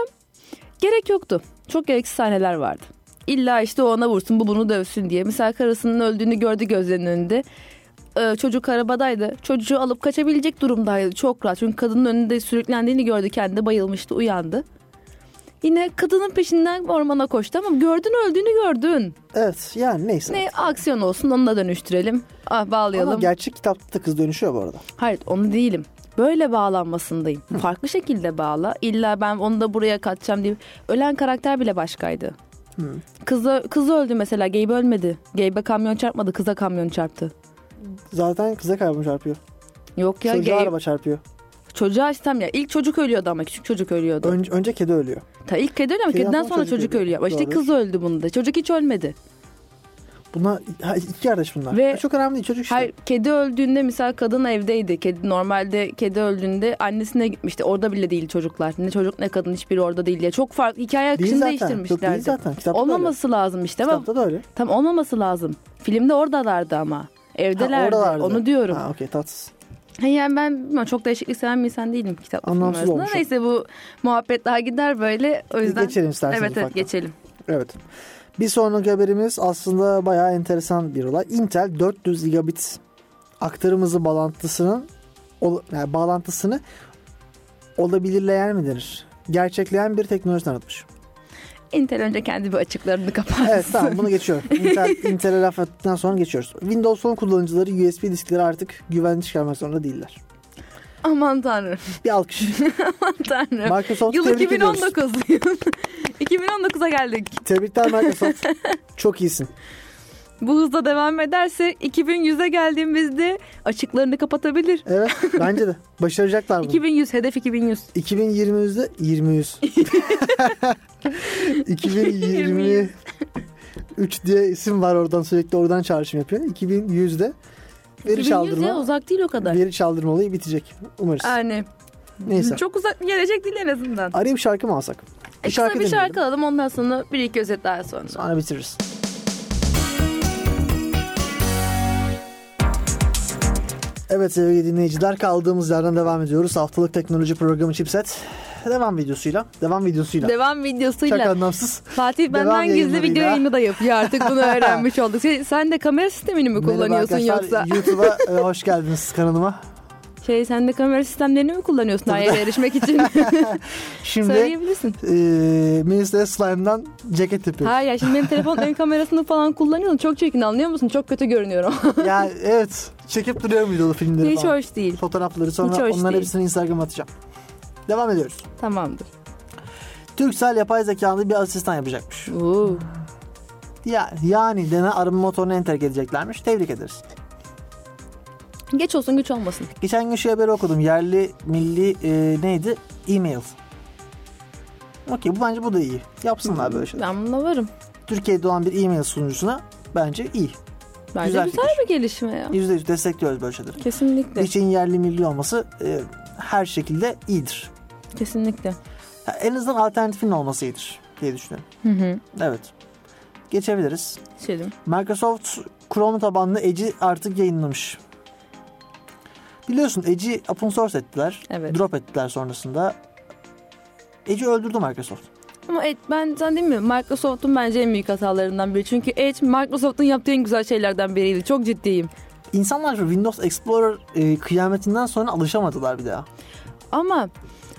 Speaker 3: gerek yoktu. Çok gereksiz sahneler vardı. İlla işte o ona vursun bu bunu dövsün diye. Mesela karısının öldüğünü gördü gözlerinin önünde. Ee, çocuk arabadaydı. Çocuğu alıp kaçabilecek durumdaydı. Çok rahat. Çünkü kadının önünde sürüklendiğini gördü. Kendi bayılmıştı uyandı. Yine kadının peşinden ormana koştu ama gördün öldüğünü gördün.
Speaker 2: Evet yani neyse.
Speaker 3: Ne aksiyon olsun onu da dönüştürelim. Ah
Speaker 2: Ama
Speaker 3: bağlayalım.
Speaker 2: gerçek kitapta da kız dönüşüyor bu arada.
Speaker 3: Hayır onu değilim. Böyle bağlanmasındayım. Farklı şekilde bağla. İlla ben onu da buraya katacağım diye. Ölen karakter bile başkaydı. Kızı, kızı öldü mesela. Gabe ölmedi. Gabe'e kamyon çarpmadı. Kıza kamyon çarptı.
Speaker 2: Zaten kıza karbon çarpıyor.
Speaker 3: Yok ya
Speaker 2: Çocuğa
Speaker 3: Gabe.
Speaker 2: araba çarpıyor.
Speaker 3: Çocuğa işte tam ya. İlk çocuk ölüyordu ama küçük çocuk ölüyordu.
Speaker 2: Önce, önce kedi ölüyor.
Speaker 3: Ta ilk kedi ölüyor ama
Speaker 2: Kediden
Speaker 3: kediden
Speaker 2: sonra
Speaker 3: sonra
Speaker 2: çocuk
Speaker 3: çocuk
Speaker 2: ölüyor.
Speaker 3: ölüyor. Ama İşte
Speaker 2: Doğru.
Speaker 3: kız öldü bunda. Çocuk hiç ölmedi.
Speaker 2: Buna ha, iki kardeş bunlar.
Speaker 3: Ve-
Speaker 2: Ya çok önemli değil çocuk işte.
Speaker 3: Hayır kedi öldüğünde mesela kadın evdeydi. Kedi normalde kedi öldüğünde annesine gitmişti. Orada bile değil çocuklar. Ne çocuk ne kadın hiçbiri orada değil diye. Çok farklı hikaye
Speaker 2: değil
Speaker 3: akışını
Speaker 2: zaten. Yok, değil
Speaker 3: değiştirmişlerdi.
Speaker 2: zaten. Kitapta da öyle.
Speaker 3: Olmaması lazım işte ama
Speaker 2: Kitapta da öyle.
Speaker 3: tam olmaması lazım. Filmde oradalardı ama.
Speaker 2: Ha,
Speaker 3: Evdelerdi.
Speaker 2: oralarda.
Speaker 3: Onu diyorum.
Speaker 2: Ha okey tatsız.
Speaker 3: Ha, Yani ben bilmiyorum, çok değişiklik seven bir insan değilim kitapla film
Speaker 2: Anlamsız
Speaker 3: arasında.
Speaker 2: olmuş o.
Speaker 3: Neyse bu muhabbet daha gider böyle. O yüzden
Speaker 2: Geçelim isterseniz
Speaker 3: Evet evet
Speaker 2: ufaktan.
Speaker 3: geçelim.
Speaker 2: Evet. Bir sonraki haberimiz aslında bayağı enteresan bir olay. Intel 400 gigabit aktarım hızı bağlantısının ol- yani bağlantısını olabilirleyen mi denir? Gerçekleyen bir teknoloji tanıtmış.
Speaker 3: Intel önce kendi bir açıklarını kapatsın.
Speaker 2: Evet tamam bunu geçiyorum. Intel, Intel'e laf ettikten sonra geçiyoruz. Windows 10 kullanıcıları USB diskleri artık güvenli çıkarmak zorunda değiller.
Speaker 3: [LAUGHS] Aman tanrım.
Speaker 2: Bir
Speaker 3: [LAUGHS]
Speaker 2: alkış.
Speaker 3: Aman tanrım.
Speaker 2: Microsoft
Speaker 3: Yıl
Speaker 2: tebrik ediyoruz.
Speaker 3: 2019. [LAUGHS] 2019'a geldik.
Speaker 2: Tebrikler
Speaker 3: [LAUGHS]
Speaker 2: Microsoft. Çok iyisin.
Speaker 3: Bu hızla devam ederse 2100'e geldiğimizde açıklarını kapatabilir.
Speaker 2: Evet bence de. Başaracaklar bunu.
Speaker 3: 2100 hedef 2100.
Speaker 2: 2020'de
Speaker 3: [LAUGHS]
Speaker 2: 20 2020 3 diye isim var oradan sürekli oradan çağrışım yapıyor. 2100'de veri
Speaker 3: 2100 ya
Speaker 2: çaldırma
Speaker 3: uzak değil o kadar.
Speaker 2: veri çaldırma olayı bitecek umarız.
Speaker 3: Yani
Speaker 2: Neyse.
Speaker 3: çok uzak gelecek değil en azından.
Speaker 2: Arayıp şarkı mı alsak?
Speaker 3: E, kısa bir
Speaker 2: dinleyelim.
Speaker 3: şarkı alalım ondan sonra bir iki özet daha sonra.
Speaker 2: Sonra bitiririz. Evet sevgili dinleyiciler kaldığımız yerden devam ediyoruz. Haftalık teknoloji programı Chipset. Devam videosuyla. Devam videosuyla.
Speaker 3: Devam videosuyla.
Speaker 2: Çok anlamsız.
Speaker 3: Fatih
Speaker 2: Devam
Speaker 3: benden gizli video
Speaker 2: yayınlarıyla.
Speaker 3: yayını da yapıyor
Speaker 2: [LAUGHS]
Speaker 3: artık bunu öğrenmiş olduk. Sen, sen de kamera sistemini mi kullanıyorsun
Speaker 2: Merhaba
Speaker 3: yoksa?
Speaker 2: arkadaşlar. [LAUGHS] YouTube'a e, hoş geldiniz kanalıma.
Speaker 3: Şey sen de kamera sistemlerini mi kullanıyorsun her yere erişmek için?
Speaker 2: [LAUGHS] Şimdi
Speaker 3: Söyleyebilirsin.
Speaker 2: e, Minister Slime'dan ceket yapıyorum.
Speaker 3: Hayır ya şimdi benim telefon ön kamerasını falan kullanıyorum. Çok çirkin anlıyor musun? Çok kötü görünüyorum. [LAUGHS]
Speaker 2: ya evet çekip duruyorum videolu filmleri
Speaker 3: Hiç
Speaker 2: falan.
Speaker 3: hoş değil.
Speaker 2: Fotoğrafları sonra
Speaker 3: Hiç hoş
Speaker 2: onların
Speaker 3: değil.
Speaker 2: hepsini Instagram'a atacağım. Devam ediyoruz.
Speaker 3: Tamamdır.
Speaker 2: Türksel yapay zekalı bir asistan yapacakmış.
Speaker 3: Oo.
Speaker 2: Ya, yani dene arama motorunu enterk edeceklermiş. Tebrik ederiz.
Speaker 3: Geç olsun güç olmasın.
Speaker 2: Geçen gün şu haberi okudum. Yerli milli e, neydi? E-mail. Okey bu bence bu da iyi. Yapsınlar böyle şeyler.
Speaker 3: Ben bununla varım.
Speaker 2: Türkiye'de olan bir e-mail sunucusuna bence iyi.
Speaker 3: Bence
Speaker 2: Güzel
Speaker 3: güzel,
Speaker 2: fikir.
Speaker 3: bir gelişme ya.
Speaker 2: %100 destekliyoruz böyle şeyleri.
Speaker 3: Kesinlikle.
Speaker 2: Bir şeyin yerli milli olması e, her şekilde iyidir.
Speaker 3: Kesinlikle.
Speaker 2: Ya, en azından alternatifin olması iyidir diye düşünüyorum.
Speaker 3: Hı hı.
Speaker 2: Evet. Geçebiliriz.
Speaker 3: Geçelim.
Speaker 2: Microsoft Chrome tabanlı Edge'i artık yayınlamış. Biliyorsun Edge'i open source ettiler.
Speaker 3: Evet.
Speaker 2: Drop ettiler sonrasında. Edge'i öldürdü Microsoft.
Speaker 3: Ama Edge ben sen değil mi? Microsoft'un bence en büyük hatalarından biri. Çünkü Edge Microsoft'un yaptığı en güzel şeylerden biriydi. Çok ciddiyim.
Speaker 2: İnsanlar şu Windows Explorer e, kıyametinden sonra alışamadılar bir daha.
Speaker 3: Ama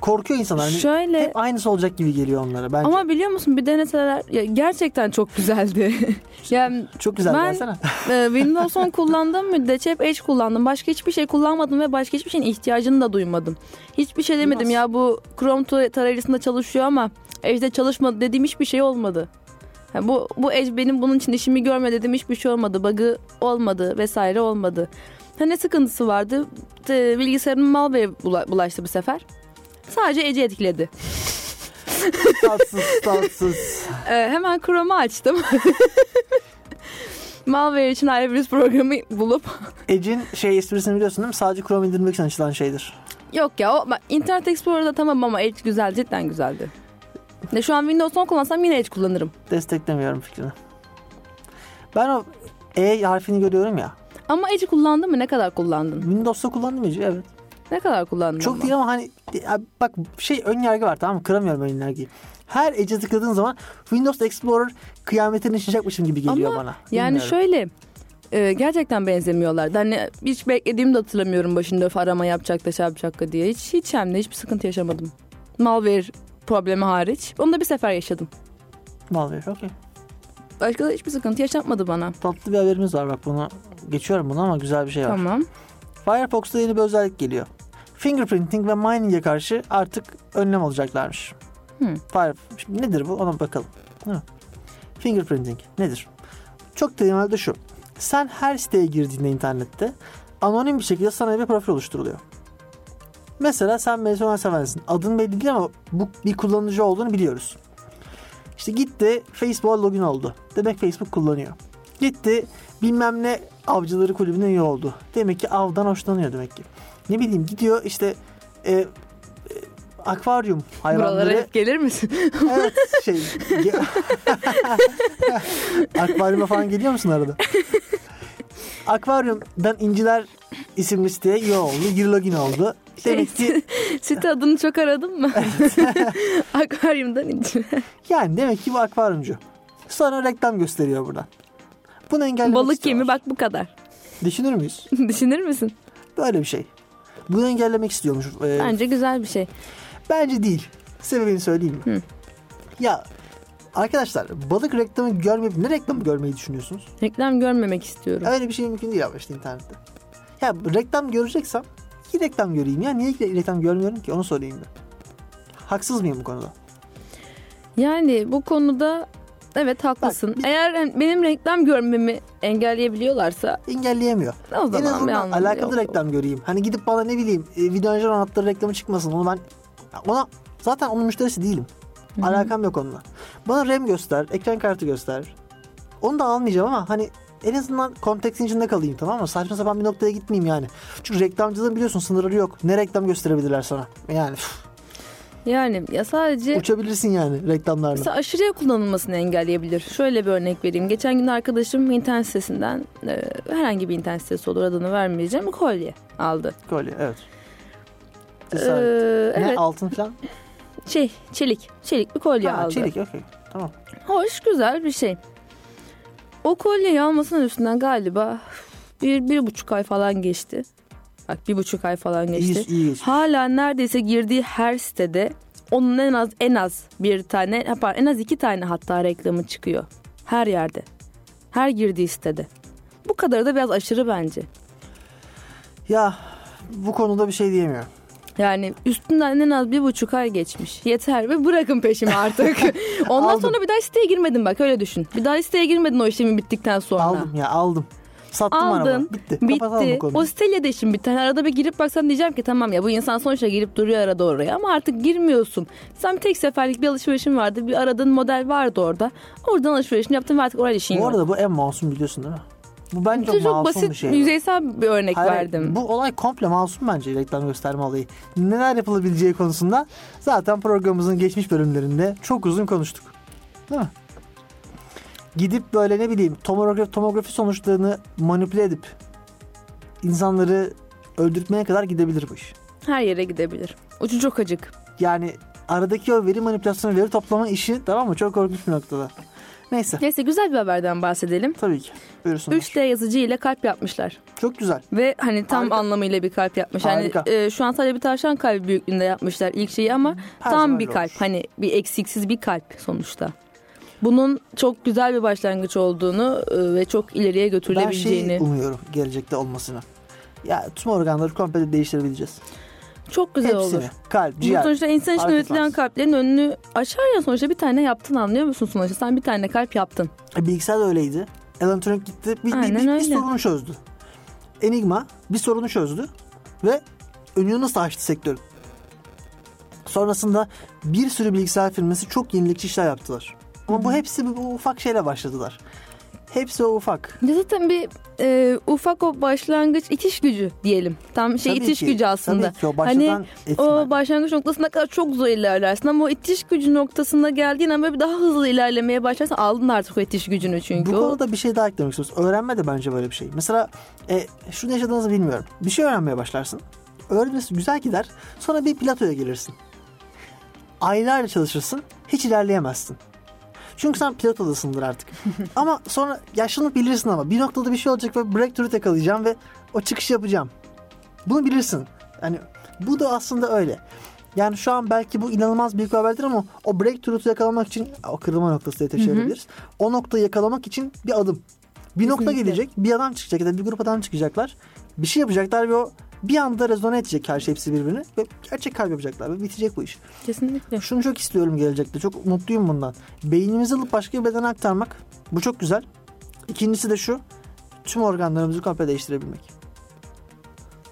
Speaker 2: Korkuyor insanlar. Hani
Speaker 3: Şöyle-
Speaker 2: Hep şey. aynısı olacak gibi geliyor onlara bence.
Speaker 3: ama biliyor musun bir deneseler ya gerçekten çok güzeldi. [LAUGHS] yani
Speaker 2: Çok güzel
Speaker 3: ben-
Speaker 2: gelsene. [LAUGHS]
Speaker 3: e, Windows 10 kullandığım müddetçe hep Edge kullandım. Başka hiçbir şey kullanmadım ve başka hiçbir şeyin ihtiyacını da duymadım. Hiçbir şey demedim
Speaker 2: Nasıl?
Speaker 3: ya bu Chrome tar- tarayıcısında çalışıyor ama Edge'de çalışmadı dediğim hiçbir şey olmadı. Yani bu, bu Edge benim bunun için işimi görme dediğim hiçbir şey olmadı. Bug'ı olmadı vesaire olmadı. Ha ne sıkıntısı vardı? Te- Bilgisayarım malware bula- bulaştı bu sefer. Sadece Edge'i etkiledi.
Speaker 2: tatsız tatsız.
Speaker 3: Ee, hemen Chrome'u açtım. [LAUGHS] malware için ayrı bir programı bulup
Speaker 2: Edge'in şey esprisini biliyorsun değil mi? Sadece Chrome indirmek için açılan şeydir.
Speaker 3: Yok ya o bak, Internet Explorer'da tamam ama Edge güzel cidden güzeldi. Ne şu an Windows 10 kullansam yine Edge kullanırım.
Speaker 2: Desteklemiyorum fikrini. Ben o E harfini görüyorum ya.
Speaker 3: Ama Edge kullandın mı? Ne kadar kullandın?
Speaker 2: Windows'ta kullandım Edge'i evet.
Speaker 3: Ne kadar kullandın?
Speaker 2: Çok
Speaker 3: ama?
Speaker 2: değil ama hani ya bak şey ön yargı var tamam mı? Kıramıyorum ön yargıyı. Her Edge'e tıkladığın zaman Windows Explorer kıyametini yaşayacakmışım gibi geliyor
Speaker 3: Ama
Speaker 2: bana.
Speaker 3: Yani
Speaker 2: Bilmiyorum.
Speaker 3: şöyle e, gerçekten benzemiyorlardı. Hani hiç beklediğimi de hatırlamıyorum başında öf arama yapacak da şey yapacak da diye. Hiç hiç hem de hiçbir sıkıntı yaşamadım. Malware problemi hariç. Onu da bir sefer yaşadım.
Speaker 2: Vallahi okey.
Speaker 3: Başka da hiçbir sıkıntı yaşatmadı bana.
Speaker 2: Tatlı bir haberimiz var bak bunu. Geçiyorum bunu ama güzel bir şey var.
Speaker 3: Tamam.
Speaker 2: Firefox'ta yeni bir özellik geliyor. Fingerprinting ve mining'e karşı artık önlem alacaklarmış.
Speaker 3: Hmm.
Speaker 2: Fire, şimdi nedir bu ona bakalım. Ha. Fingerprinting nedir? Çok temelde şu. Sen her siteye girdiğinde internette anonim bir şekilde sana bir profil oluşturuluyor. Mesela sen Mesut Sevensin. Adın belli değil ama bu bir kullanıcı olduğunu biliyoruz. İşte gitti Facebook'a login oldu. Demek Facebook kullanıyor. Gitti bilmem ne avcıları kulübüne üye oldu. Demek ki avdan hoşlanıyor demek ki. Ne bileyim gidiyor işte e, e, akvaryum
Speaker 3: Buralara
Speaker 2: hayvanları
Speaker 3: hep gelir misin? [LAUGHS]
Speaker 2: Evet şey. ge- [LAUGHS] Akvaryuma falan geliyor musun arada? Akvaryumdan İnciler isimli siteye üye oldu. Gir login oldu. Demek ki
Speaker 3: Site adını çok
Speaker 2: [LAUGHS]
Speaker 3: aradım mı? [LAUGHS] Akvaryumdan ince.
Speaker 2: yani demek ki bu akvaryumcu. Sonra reklam gösteriyor buradan. Bunu engellemek
Speaker 3: Balık
Speaker 2: istiyorlar.
Speaker 3: yemi bak bu kadar. [LAUGHS]
Speaker 2: Düşünür müyüz?
Speaker 3: Düşünür müsün?
Speaker 2: Böyle bir şey. Bunu engellemek istiyormuş. e,
Speaker 3: Bence güzel bir şey.
Speaker 2: Bence değil. Sebebini söyleyeyim mi?
Speaker 3: Hı.
Speaker 2: Ya arkadaşlar balık reklamı görmeyip ne reklamı görmeyi düşünüyorsunuz?
Speaker 3: Reklam görmemek istiyorum.
Speaker 2: Öyle bir şey mümkün değil ama işte internette. Ya reklam göreceksem iyi reklam göreyim ya. Niye reklam görmüyorum ki onu sorayım da. Haksız mıyım bu konuda?
Speaker 3: Yani bu konuda evet haklısın. Eğer en- benim reklam görmemi engelleyebiliyorlarsa
Speaker 2: Engelleyemiyor.
Speaker 3: o
Speaker 2: en
Speaker 3: zaman bir
Speaker 2: azından
Speaker 3: anlamı
Speaker 2: alakalı
Speaker 3: yok.
Speaker 2: reklam göreyim. Hani gidip bana ne bileyim e, video önceden anlattığı reklamı çıkmasın. Onu ben ona zaten onun müşterisi değilim. Alakam yok onunla. Bana RAM göster, ekran kartı göster. Onu da almayacağım ama hani en azından konteksin içinde kalayım tamam mı? Saçma sapan bir noktaya gitmeyeyim yani. Çünkü reklamcılığın biliyorsun sınırları yok. Ne reklam gösterebilirler sana? Yani üf.
Speaker 3: Yani ya sadece
Speaker 2: Uçabilirsin yani reklamlarla.
Speaker 3: Ee, Mesela aşırıya kullanılmasını engelleyebilir. Şöyle bir örnek vereyim. Geçen gün arkadaşım internet sitesinden e, herhangi bir internet sitesi olur adını vermeyeceğim kolye aldı.
Speaker 2: Kolye evet.
Speaker 3: Ee,
Speaker 2: Cesaret. ne
Speaker 3: evet
Speaker 2: altın falan?
Speaker 3: şey çelik. Çelik bir kolye
Speaker 2: Ha,
Speaker 3: aldı.
Speaker 2: çelik okey. Tamam.
Speaker 3: Hoş güzel bir şey. O kolyeyi almasının üstünden galiba bir, bir buçuk ay falan geçti. Bak bir buçuk ay falan geçti.
Speaker 2: İyi, iyi geçmiş.
Speaker 3: Hala neredeyse girdiği her sitede onun en az en az bir tane pardon, en az iki tane hatta reklamı çıkıyor. Her yerde. Her girdiği sitede. Bu kadarı da biraz aşırı bence.
Speaker 2: Ya bu konuda bir şey diyemiyorum.
Speaker 3: Yani üstünden en az bir buçuk ay geçmiş. Yeter ve bırakın
Speaker 2: [LAUGHS]
Speaker 3: peşimi artık. Ondan
Speaker 2: Aldım.
Speaker 3: sonra bir daha siteye girmedin bak öyle düşün. Bir daha siteye girmedin o işlemin bittikten sonra.
Speaker 2: Aldım ya aldım. Sattım
Speaker 3: Aldın.
Speaker 2: arabayı. Bitti. Kapatalım bu
Speaker 3: Bitti.
Speaker 2: konuyu.
Speaker 3: O siteyle de işin biter. Arada bir girip baksan diyeceğim ki tamam ya bu insan sonuçta girip duruyor arada oraya ama artık girmiyorsun. Sen bir tek seferlik bir alışverişin vardı. Bir aradığın model vardı orada. Oradan alışverişini yaptın ve artık oraya işin
Speaker 2: Bu
Speaker 3: yok.
Speaker 2: arada bu en masum biliyorsun değil mi? Bu bence
Speaker 3: çok,
Speaker 2: masum
Speaker 3: basit
Speaker 2: bir şey.
Speaker 3: yüzeysel bir örnek
Speaker 2: Hayır,
Speaker 3: verdim.
Speaker 2: Bu olay komple masum bence reklam gösterme olayı. Neler yapılabileceği konusunda zaten programımızın geçmiş bölümlerinde çok uzun konuştuk. Değil mi? Gidip böyle ne bileyim tomografi, tomografi sonuçlarını manipüle edip insanları öldürtmeye kadar gidebilir bu iş.
Speaker 3: Her yere gidebilir. Ucu çok acık.
Speaker 2: Yani aradaki o veri manipülasyonu, veri toplama işi tamam mı? Çok korkunç bir noktada. Neyse.
Speaker 3: Neyse güzel bir haberden bahsedelim.
Speaker 2: Tabii ki. Buyursunlar.
Speaker 3: 3D yazıcı ile kalp yapmışlar.
Speaker 2: Çok güzel.
Speaker 3: Ve hani tam
Speaker 2: Harika.
Speaker 3: anlamıyla bir kalp yapmış. Yani
Speaker 2: Harika.
Speaker 3: e, şu an sadece bir tavşan kalbi büyüklüğünde yapmışlar ilk şeyi ama
Speaker 2: Her zaman
Speaker 3: tam bir
Speaker 2: öyle
Speaker 3: kalp.
Speaker 2: olur.
Speaker 3: Hani bir eksiksiz bir kalp sonuçta. Bunun çok güzel bir başlangıç olduğunu e, ve çok ileriye
Speaker 2: Ben şey um, şeyi
Speaker 3: götürülebileceğini.
Speaker 2: umuyorum gelecekte olmasını. Ya tüm organları komple değiştirebileceğiz.
Speaker 3: çok güzel
Speaker 2: Hepsini.
Speaker 3: olur.
Speaker 2: Kalp,
Speaker 3: Bu
Speaker 2: ciğer.
Speaker 3: sonuçta insan için
Speaker 2: arka
Speaker 3: üretilen
Speaker 2: taraf.
Speaker 3: kalplerin önünü açar ya sonuçta bir tane yaptın anlıyor musun sonuçta? Sen bir tane kalp yaptın.
Speaker 2: E, Bilgisayar da öyleydi. Alan Turing gitti. Bir, bir-
Speaker 3: Aynen
Speaker 2: bir- bir
Speaker 3: öyle.
Speaker 2: sorunu çözdü. Enigma bir sorunu çözdü. Ve önünü nasıl açtı sektörün. Sonrasında bir sürü bilgisayar firması çok yenilikçi işler yaptılar. Ama bu hepsi bu- bu ufak şeyle başladılar. Hepsi o ufak.
Speaker 3: Ya zaten bir e, ufak o başlangıç itiş gücü diyelim. Tam şey
Speaker 2: Tabii
Speaker 3: itiş
Speaker 2: ki-
Speaker 3: gücü aslında.
Speaker 2: Tabii ki o başladan
Speaker 3: Hani
Speaker 2: etmen.
Speaker 3: O başlangıç noktasına kadar çok zor ilerlersin ama o itiş gücü noktasına geldiğin an böyle bir daha hızlı ilerlemeye başlarsan aldın artık o itiş gücünü çünkü.
Speaker 2: Bu
Speaker 3: O-
Speaker 2: konuda bir şey daha eklemek istiyorum. Öğrenme de bence böyle bir şey. Mesela e, şunu yaşadığınızı bilmiyorum. Bir şey öğrenmeye başlarsın. Öğrenmesi güzel gider. Sonra bir platoya gelirsin. Aylarca çalışırsın. Hiç ilerleyemezsin. Çünkü sen platodasındır artık.
Speaker 3: [LAUGHS]
Speaker 2: ama sonra yaşını bilirsin ama. Bir noktada bir şey olacak ve breakthrough yakalayacağım ve o çıkış yapacağım. Bunu bilirsin. Yani bu da aslında öyle. Yani şu an belki bu inanılmaz büyük bir haberdir ama o breakthrough'u yakalamak için o kırılma noktası diye çevirebiliriz. O noktayı yakalamak için bir adım. Bir nokta
Speaker 3: Kesinlikle.
Speaker 2: gelecek, bir adam çıkacak ya da bir grup adam çıkacaklar. Bir şey yapacaklar ve o bir anda rezone edecek her şey hepsi birbirine ve gerçek kalp yapacaklar ve bitecek bu iş.
Speaker 3: Kesinlikle.
Speaker 2: E, Şunu çok istiyorum gelecekte. Çok mutluyum bundan. Beynimizi alıp başka bir bedene aktarmak. Bu çok güzel. İkincisi de şu. Tüm organlarımızı komple değiştirebilmek.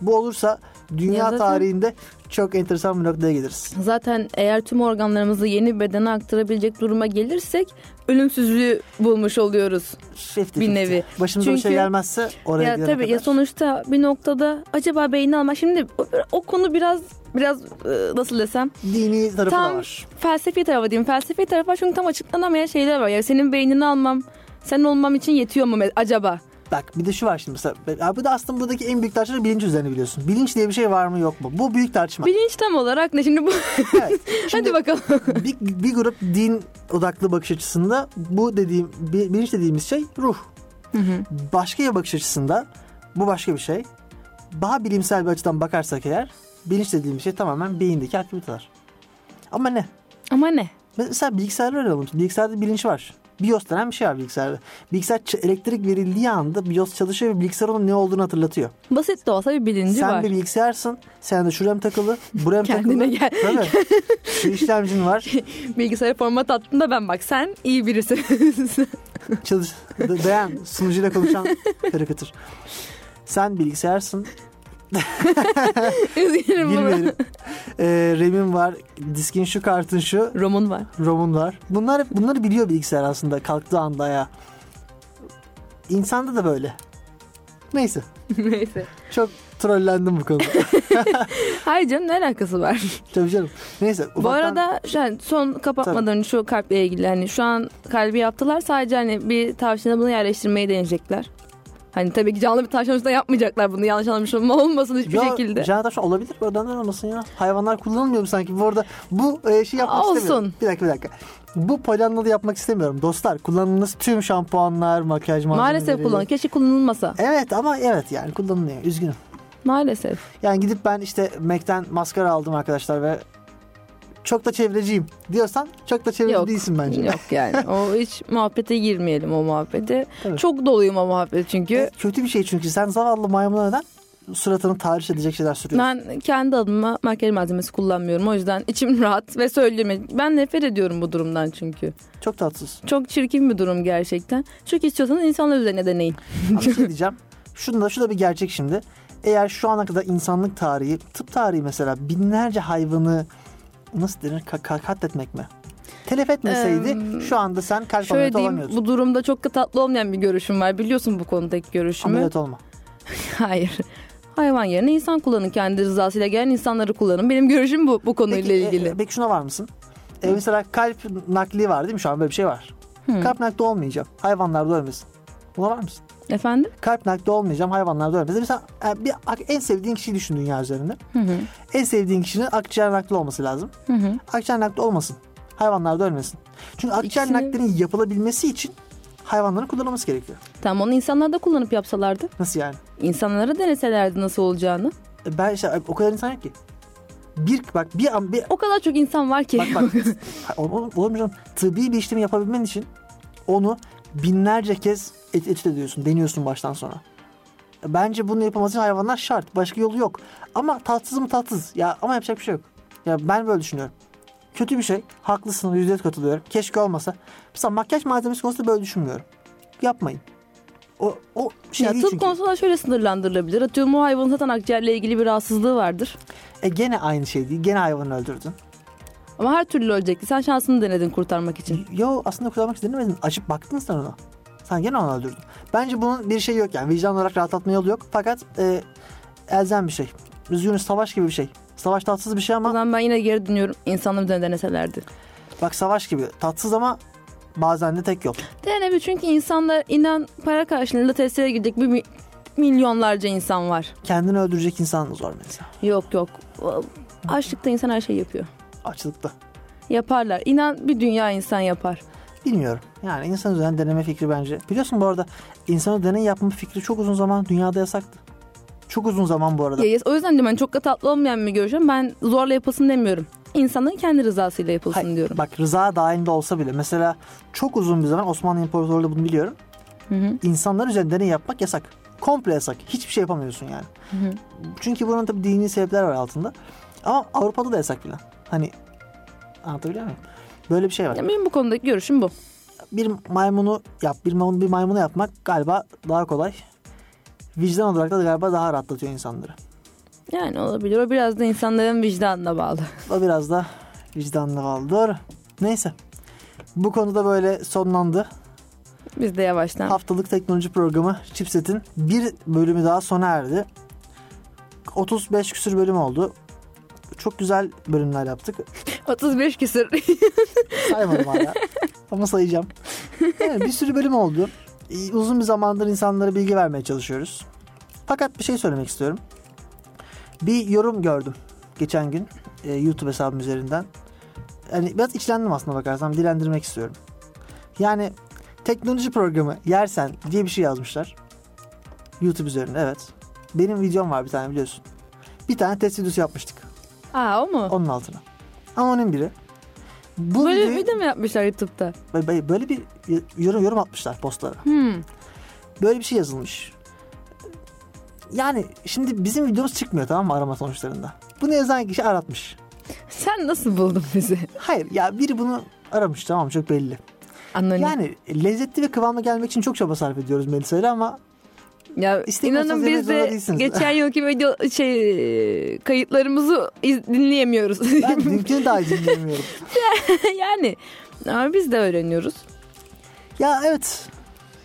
Speaker 2: Bu olursa dünya
Speaker 3: Ya zaten-
Speaker 2: tarihinde çok enteresan bir noktaya geliriz.
Speaker 3: Zaten eğer tüm organlarımızı yeni bir bedene aktarabilecek duruma gelirsek ölümsüzlüğü bulmuş oluyoruz.
Speaker 2: Fifty
Speaker 3: Bir
Speaker 2: fifty.
Speaker 3: nevi.
Speaker 2: Başımıza bir şey
Speaker 3: Çünkü-
Speaker 2: gelmezse oraya
Speaker 3: ya
Speaker 2: gidene
Speaker 3: tabii
Speaker 2: kadar.
Speaker 3: ya sonuçta bir noktada acaba beyni almak şimdi o, o konu biraz biraz e, nasıl desem
Speaker 2: Dini tarafı da
Speaker 3: Tam-
Speaker 2: var.
Speaker 3: felsefi tarafa diyeyim. Felsefi tarafa çünkü tam açıklanamayan şeyler var. Ya senin beynini almam, sen olmam için yetiyor mu me- acaba?
Speaker 2: Bak bir de şu var şimdi mesela. Ya bu da aslında buradaki en büyük tartışma bilinç üzerine biliyorsun. Bilinç diye bir şey var mı yok mu? Bu büyük tartışma.
Speaker 3: Bilinç tam olarak ne şimdi bu? [LAUGHS]
Speaker 2: Evet. Şimdi-
Speaker 3: Hadi bakalım. [LAUGHS]
Speaker 2: bir, bir grup din odaklı bakış açısında bu dediğim bir- bilinç dediğimiz şey ruh. Başka bir bakış açısında bu başka bir şey. Daha bilimsel bir açıdan bakarsak eğer bilinç dediğimiz şey tamamen beyindeki aktiviteler. Ama ne?
Speaker 3: Ama ne?
Speaker 2: Mesela bilgisayarlar alalım. Bilgisayarda bilinç var. BIOS denen bir şey var bilgisayarda. Bilgisayar ç- elektrik verildiği anda BIOS çalışıyor ve bilgisayar onun ne olduğunu hatırlatıyor.
Speaker 3: Basit de olsa bir bilinci
Speaker 2: Sen
Speaker 3: var.
Speaker 2: bir bilgisayarsın. Sen de şuraya mı takılı? Buraya mı takılı?
Speaker 3: [LAUGHS] Kendine gel.
Speaker 2: Tabii. Şu işlemcin var.
Speaker 3: Bilgisayarı format attığında ben bak sen iyi birisin. [LAUGHS]
Speaker 2: Çalış, da- dayan sunucuyla
Speaker 3: [LAUGHS]
Speaker 2: konuşan karikatür. Sen bilgisayarsın.
Speaker 3: Üzgünüm buna.
Speaker 2: Bilmiyorum. Ee, RAM'in var. Diskin şu, kartın şu.
Speaker 3: Romun var. [LAUGHS]
Speaker 2: ROM'un var. Bunlar hep bunları biliyor bilgisayar aslında kalktığı anda ayağa. İnsanda da böyle. Neyse.
Speaker 3: Neyse.
Speaker 2: Çok trollendim bu
Speaker 3: [LAUGHS]
Speaker 2: konuda.
Speaker 3: Hayır canım ne alakası var?
Speaker 2: Tabii canım. Neyse.
Speaker 3: Bu
Speaker 2: ufaktan-
Speaker 3: arada yani son kapatmadan önce şu kalple ilgili hani şu an kalbi yaptılar sadece hani bir tavşana bunu yerleştirmeyi deneyecekler. Hani tabii ki canlı bir tavşan üstüne yapmayacaklar bunu yanlış anlamış olma olmasın hiçbir
Speaker 2: Ya,
Speaker 3: şekilde.
Speaker 2: Canan Taşan olabilir. Oradan neden olmasın ya? Hayvanlar kullanılmıyor mu sanki? Bu arada bu e, şey yapmak
Speaker 3: Olsun.
Speaker 2: istemiyorum. Bir dakika bir dakika. Bu Polyanlı'da yapmak istemiyorum. Dostlar kullandığınız tüm şampuanlar, makyaj malzemeleri.
Speaker 3: Maalesef kullan. Keşke kullanılmasa.
Speaker 2: Evet ama evet yani kullanılıyor. Üzgünüm.
Speaker 3: Maalesef.
Speaker 2: Yani gidip ben işte Mac'ten maskara aldım arkadaşlar ve çok da çevreciyim diyorsan çok da çevreci
Speaker 3: Yok.
Speaker 2: değilsin bence.
Speaker 3: Yok yani. O hiç muhabbete girmeyelim o muhabbete.
Speaker 2: Tabii.
Speaker 3: Çok doluyum o muhabbet çünkü.
Speaker 2: E, Kötü bir şey çünkü sen zavallı maymuna neden suratını tahriş edecek şeyler sürüyorsun.
Speaker 3: Ben kendi adıma makyaj malzemesi kullanmıyorum. O yüzden içim [LAUGHS] rahat ve söyleyeyim. Ben nefret ediyorum bu durumdan çünkü.
Speaker 2: Çok tatsız.
Speaker 3: Çok çirkin bir durum gerçekten. Çok istiyorsanız insanlar üzerine deneyin.
Speaker 2: Ama bir şey diyeceğim. Şunu da, şu da bir gerçek şimdi. Eğer şu ana kadar insanlık tarihi, tıp tarihi mesela binlerce hayvanı nasıl denir ka- ka- katletmek mi? Telef etmeseydi
Speaker 3: Eee,
Speaker 2: şu anda sen kalp
Speaker 3: Şöyle
Speaker 2: ameliyatı
Speaker 3: diyeyim
Speaker 2: olamıyordun.
Speaker 3: bu durumda çok da tatlı olmayan bir görüşüm var. Biliyorsun bu konudaki görüşümü.
Speaker 2: Ameliyat olma.
Speaker 3: [LAUGHS] Hayır. Hayvan yerine insan kullanın. Kendi rızasıyla gelen insanları kullanın. Benim görüşüm bu bu konuyla
Speaker 2: Peki, e,
Speaker 3: ilgili.
Speaker 2: e, peki şuna var mısın? E, mesela kalp nakli var değil mi? Şu an böyle bir şey var.
Speaker 3: Hı.
Speaker 2: Kalp nakli olmayacağım. Hayvanlarda ölmesin. Buna var mısın?
Speaker 3: Efendim?
Speaker 2: Kalp nakli olmayacağım. Hayvanlarda ölmesin. Mesela e, bir, en sevdiğin kişiyi düşün dünya üzerinde.
Speaker 3: Hı hı.
Speaker 2: En sevdiğin kişinin akciğer nakli olması lazım.
Speaker 3: Hı hı.
Speaker 2: akciğer nakli olmasın. Hayvanlarda ölmesin. Çünkü akciğer
Speaker 3: İkisini-
Speaker 2: naklinin yapılabilmesi için hayvanların kullanılması gerekiyor.
Speaker 3: Tamam onu insanlar da kullanıp yapsalardı.
Speaker 2: Nasıl yani?
Speaker 3: İnsanlara deneselerdi nasıl olacağını.
Speaker 2: E Ben işte o kadar insan yok ki. Bir bak bir an bir
Speaker 3: O kadar çok insan var ki.
Speaker 2: bak bak
Speaker 3: [LAUGHS]
Speaker 2: Ha, ol- ol- olur mu canım? Tıbbi bir işlemi yapabilmen için onu binlerce kez et, etüt ediyorsun, deniyorsun baştan sona. E Bence bunu yapılması için hayvanlar şart. Başka yolu yok. Ama tatsız mı tatsız. Ya ama yapacak bir şey yok. Ya ben böyle düşünüyorum. Kötü bir şey. Haklısın. Yüzde yüz katılıyorum. Keşke olmasa. Mesela makyaj malzemesi konusunda böyle düşünmüyorum. Yapmayın. O, o şey
Speaker 3: ya
Speaker 2: değil
Speaker 3: tıp
Speaker 2: çünkü.
Speaker 3: konusunda şöyle sınırlandırılabilir. Atıyorum o hayvanın zaten akciğerle ilgili bir rahatsızlığı vardır.
Speaker 2: E gene aynı şey değil. Gene hayvanı öldürdün.
Speaker 3: Ama her türlü ölecekti. Sen şansını denedin kurtarmak için.
Speaker 2: Yo aslında kullanmak için denemedin. Açıp baktın sen ona. Sen gene onu öldürdün. Bence bunun bir şey yok yani. Vicdan olarak rahatlatma yolu yok. Fakat e, elzem bir şey. Üzgünüz savaş gibi bir şey. Savaş tatsız bir şey
Speaker 3: O
Speaker 2: ama
Speaker 3: zaman ben yine geri dönüyorum. İnsanlar üzerine deneselerdi.
Speaker 2: bak savaş gibi. Tatsız ama bazen de tek yol.
Speaker 3: Denebi çünkü insanlar inan para karşılığında testere gidecek bir mi- milyonlarca insan var.
Speaker 2: Kendini öldürecek insan zor mesela.
Speaker 3: Yok yok. O- Açlıkta insan her şey yapıyor.
Speaker 2: Açlıkta.
Speaker 3: Yaparlar. İnan bir dünya insan yapar.
Speaker 2: Bilmiyorum. Yani insan üzerine deneme fikri bence. Biliyorsun bu arada insan üzerine deney yapma fikri çok uzun zaman dünyada yasaktı. Çok uzun zaman bu arada.
Speaker 3: Ya, yes, o yüzden diyorum hani çok da tatlı olmayan bir görüşüm. Ben zorla yapılsın demiyorum. İnsanın kendi rızasıyla yapılsın
Speaker 2: Hayır,
Speaker 3: diyorum.
Speaker 2: Bak rıza dahilinde olsa bile mesela çok uzun bir zaman Osmanlı İmparatorluğu'da bunu biliyorum.
Speaker 3: Hı hı.
Speaker 2: İnsanlar üzerinde deney yapmak yasak. Komple yasak. Hiçbir şey yapamıyorsun yani.
Speaker 3: hı.
Speaker 2: Çünkü bunun tabii dini sebepler var altında. Ama Avrupa'da da yasak bile. Hani anlatabiliyor muyum? Böyle bir şey var.
Speaker 3: Ya benim bu konudaki görüşüm bu.
Speaker 2: Bir maymunu yap, bir maymunu, bir maymunu yapmak galiba daha kolay. Vicdan olarak da galiba daha rahatlatıyor insanları.
Speaker 3: Yani olabilir. O biraz da insanların vicdanına bağlı. [LAUGHS]
Speaker 2: O biraz da vicdanlı kaldı. Doğru. Neyse. Bu konuda böyle sonlandı.
Speaker 3: Biz de yavaştan.
Speaker 2: Haftalık teknoloji programı Chipset'in bir bölümü daha sona erdi. 35 küsür bölüm oldu. Çok güzel bölümler yaptık.
Speaker 3: 35 küsür. [LAUGHS]
Speaker 2: Saymadım hala. Ama sayacağım. Yani bir sürü bölüm oldu. Ee, Uzun bir zamandır insanlara bilgi vermeye çalışıyoruz. Fakat bir şey söylemek istiyorum. Bir yorum gördüm geçen gün e, YouTube hesabım üzerinden. Yani biraz içlendim aslında bakarsan. Dilendirmek istiyorum. Yani teknoloji programı yersen diye bir şey yazmışlar. YouTube üzerinde evet. Benim videom var bir tane biliyorsun. Bir tane test videosu yapmıştık.
Speaker 3: Aa o mu?
Speaker 2: Onun altına. Ama onun biri. Bu
Speaker 3: Böyle bir
Speaker 2: videoyu-
Speaker 3: video mu yapmışlar YouTube'da?
Speaker 2: Böyle- böyle böyle bir yorum yorum atmışlar postlara.
Speaker 3: Hmm.
Speaker 2: Böyle bir şey yazılmış. Yani şimdi bizim videomuz çıkmıyor tamam mı arama sonuçlarında. Bunu yazan kişi aratmış.
Speaker 3: Sen nasıl buldun bizi?
Speaker 2: Hayır ya biri bunu aramış tamam mı? çok belli.
Speaker 3: Anonim.
Speaker 2: Yani lezzetli ve kıvamlı gelmek için çok çaba sarf ediyoruz Melisa ile ama
Speaker 3: ya
Speaker 2: istemiyorsanız
Speaker 3: inanın
Speaker 2: yemek
Speaker 3: biz
Speaker 2: zorunda
Speaker 3: de
Speaker 2: değilsiniz.
Speaker 3: geçen yılki video şey e, kayıtlarımızı iz- dinleyemiyoruz. [LAUGHS]
Speaker 2: ben dünkünü daha iyi dinleyemiyorum.
Speaker 3: yani ama biz de öğreniyoruz.
Speaker 2: ya evet.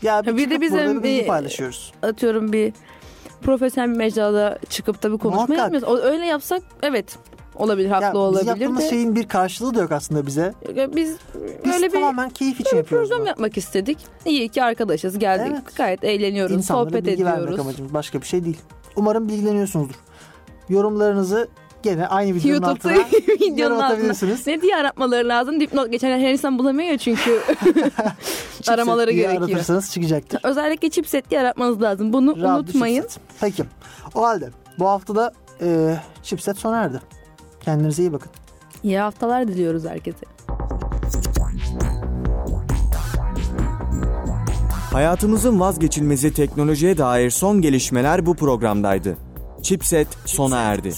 Speaker 2: Ya
Speaker 3: Ha, bir de
Speaker 2: çıkıp
Speaker 3: bizim
Speaker 2: burada bir bilgi
Speaker 3: bir-
Speaker 2: paylaşıyoruz.
Speaker 3: Atıyorum bir profesyonel bir mecrada çıkıp da bir konuşma
Speaker 2: Muhakkak.
Speaker 3: yapmıyoruz. O- Öyle yapsak evet olabilir haklı
Speaker 2: Ya biz
Speaker 3: olabilir
Speaker 2: yaptığımız
Speaker 3: de.
Speaker 2: şeyin bir karşılığı da yok aslında bize.
Speaker 3: Biz,
Speaker 2: Biz
Speaker 3: böyle bir
Speaker 2: tamamen keyif için yapıyoruz
Speaker 3: program
Speaker 2: bunu.
Speaker 3: yapmak istedik. İyi ki arkadaşız geldik.
Speaker 2: Evet.
Speaker 3: Gayet eğleniyoruz.
Speaker 2: İnsanlara
Speaker 3: sohbet
Speaker 2: bilgi vermek
Speaker 3: ediyoruz.
Speaker 2: amacımız başka bir şey değil. Umarım bilgileniyorsunuzdur. Yorumlarınızı gene aynı videonun
Speaker 3: YouTube'da
Speaker 2: altına
Speaker 3: [LAUGHS] videonun
Speaker 2: yorum
Speaker 3: altına. [LAUGHS]
Speaker 2: atabilirsiniz.
Speaker 3: Ne diye aratmaları lazım? Dipnot geçen her insan bulamıyor
Speaker 2: [LAUGHS]
Speaker 3: ya çünkü.
Speaker 2: Chipset
Speaker 3: Aramaları
Speaker 2: diye
Speaker 3: gerekiyor.
Speaker 2: Aratırsanız çıkacaktır.
Speaker 3: Özellikle chipset diye aratmanız lazım. Bunu
Speaker 2: Rahat bir
Speaker 3: unutmayın.
Speaker 2: chipset. Peki. O halde bu hafta da e, chipset sona erdi. Kendinize iyi bakın.
Speaker 3: İyi haftalar diliyoruz herkese.
Speaker 1: Hayatımızın vazgeçilmezi teknolojiye dair son gelişmeler bu programdaydı. Chipset sona erdi.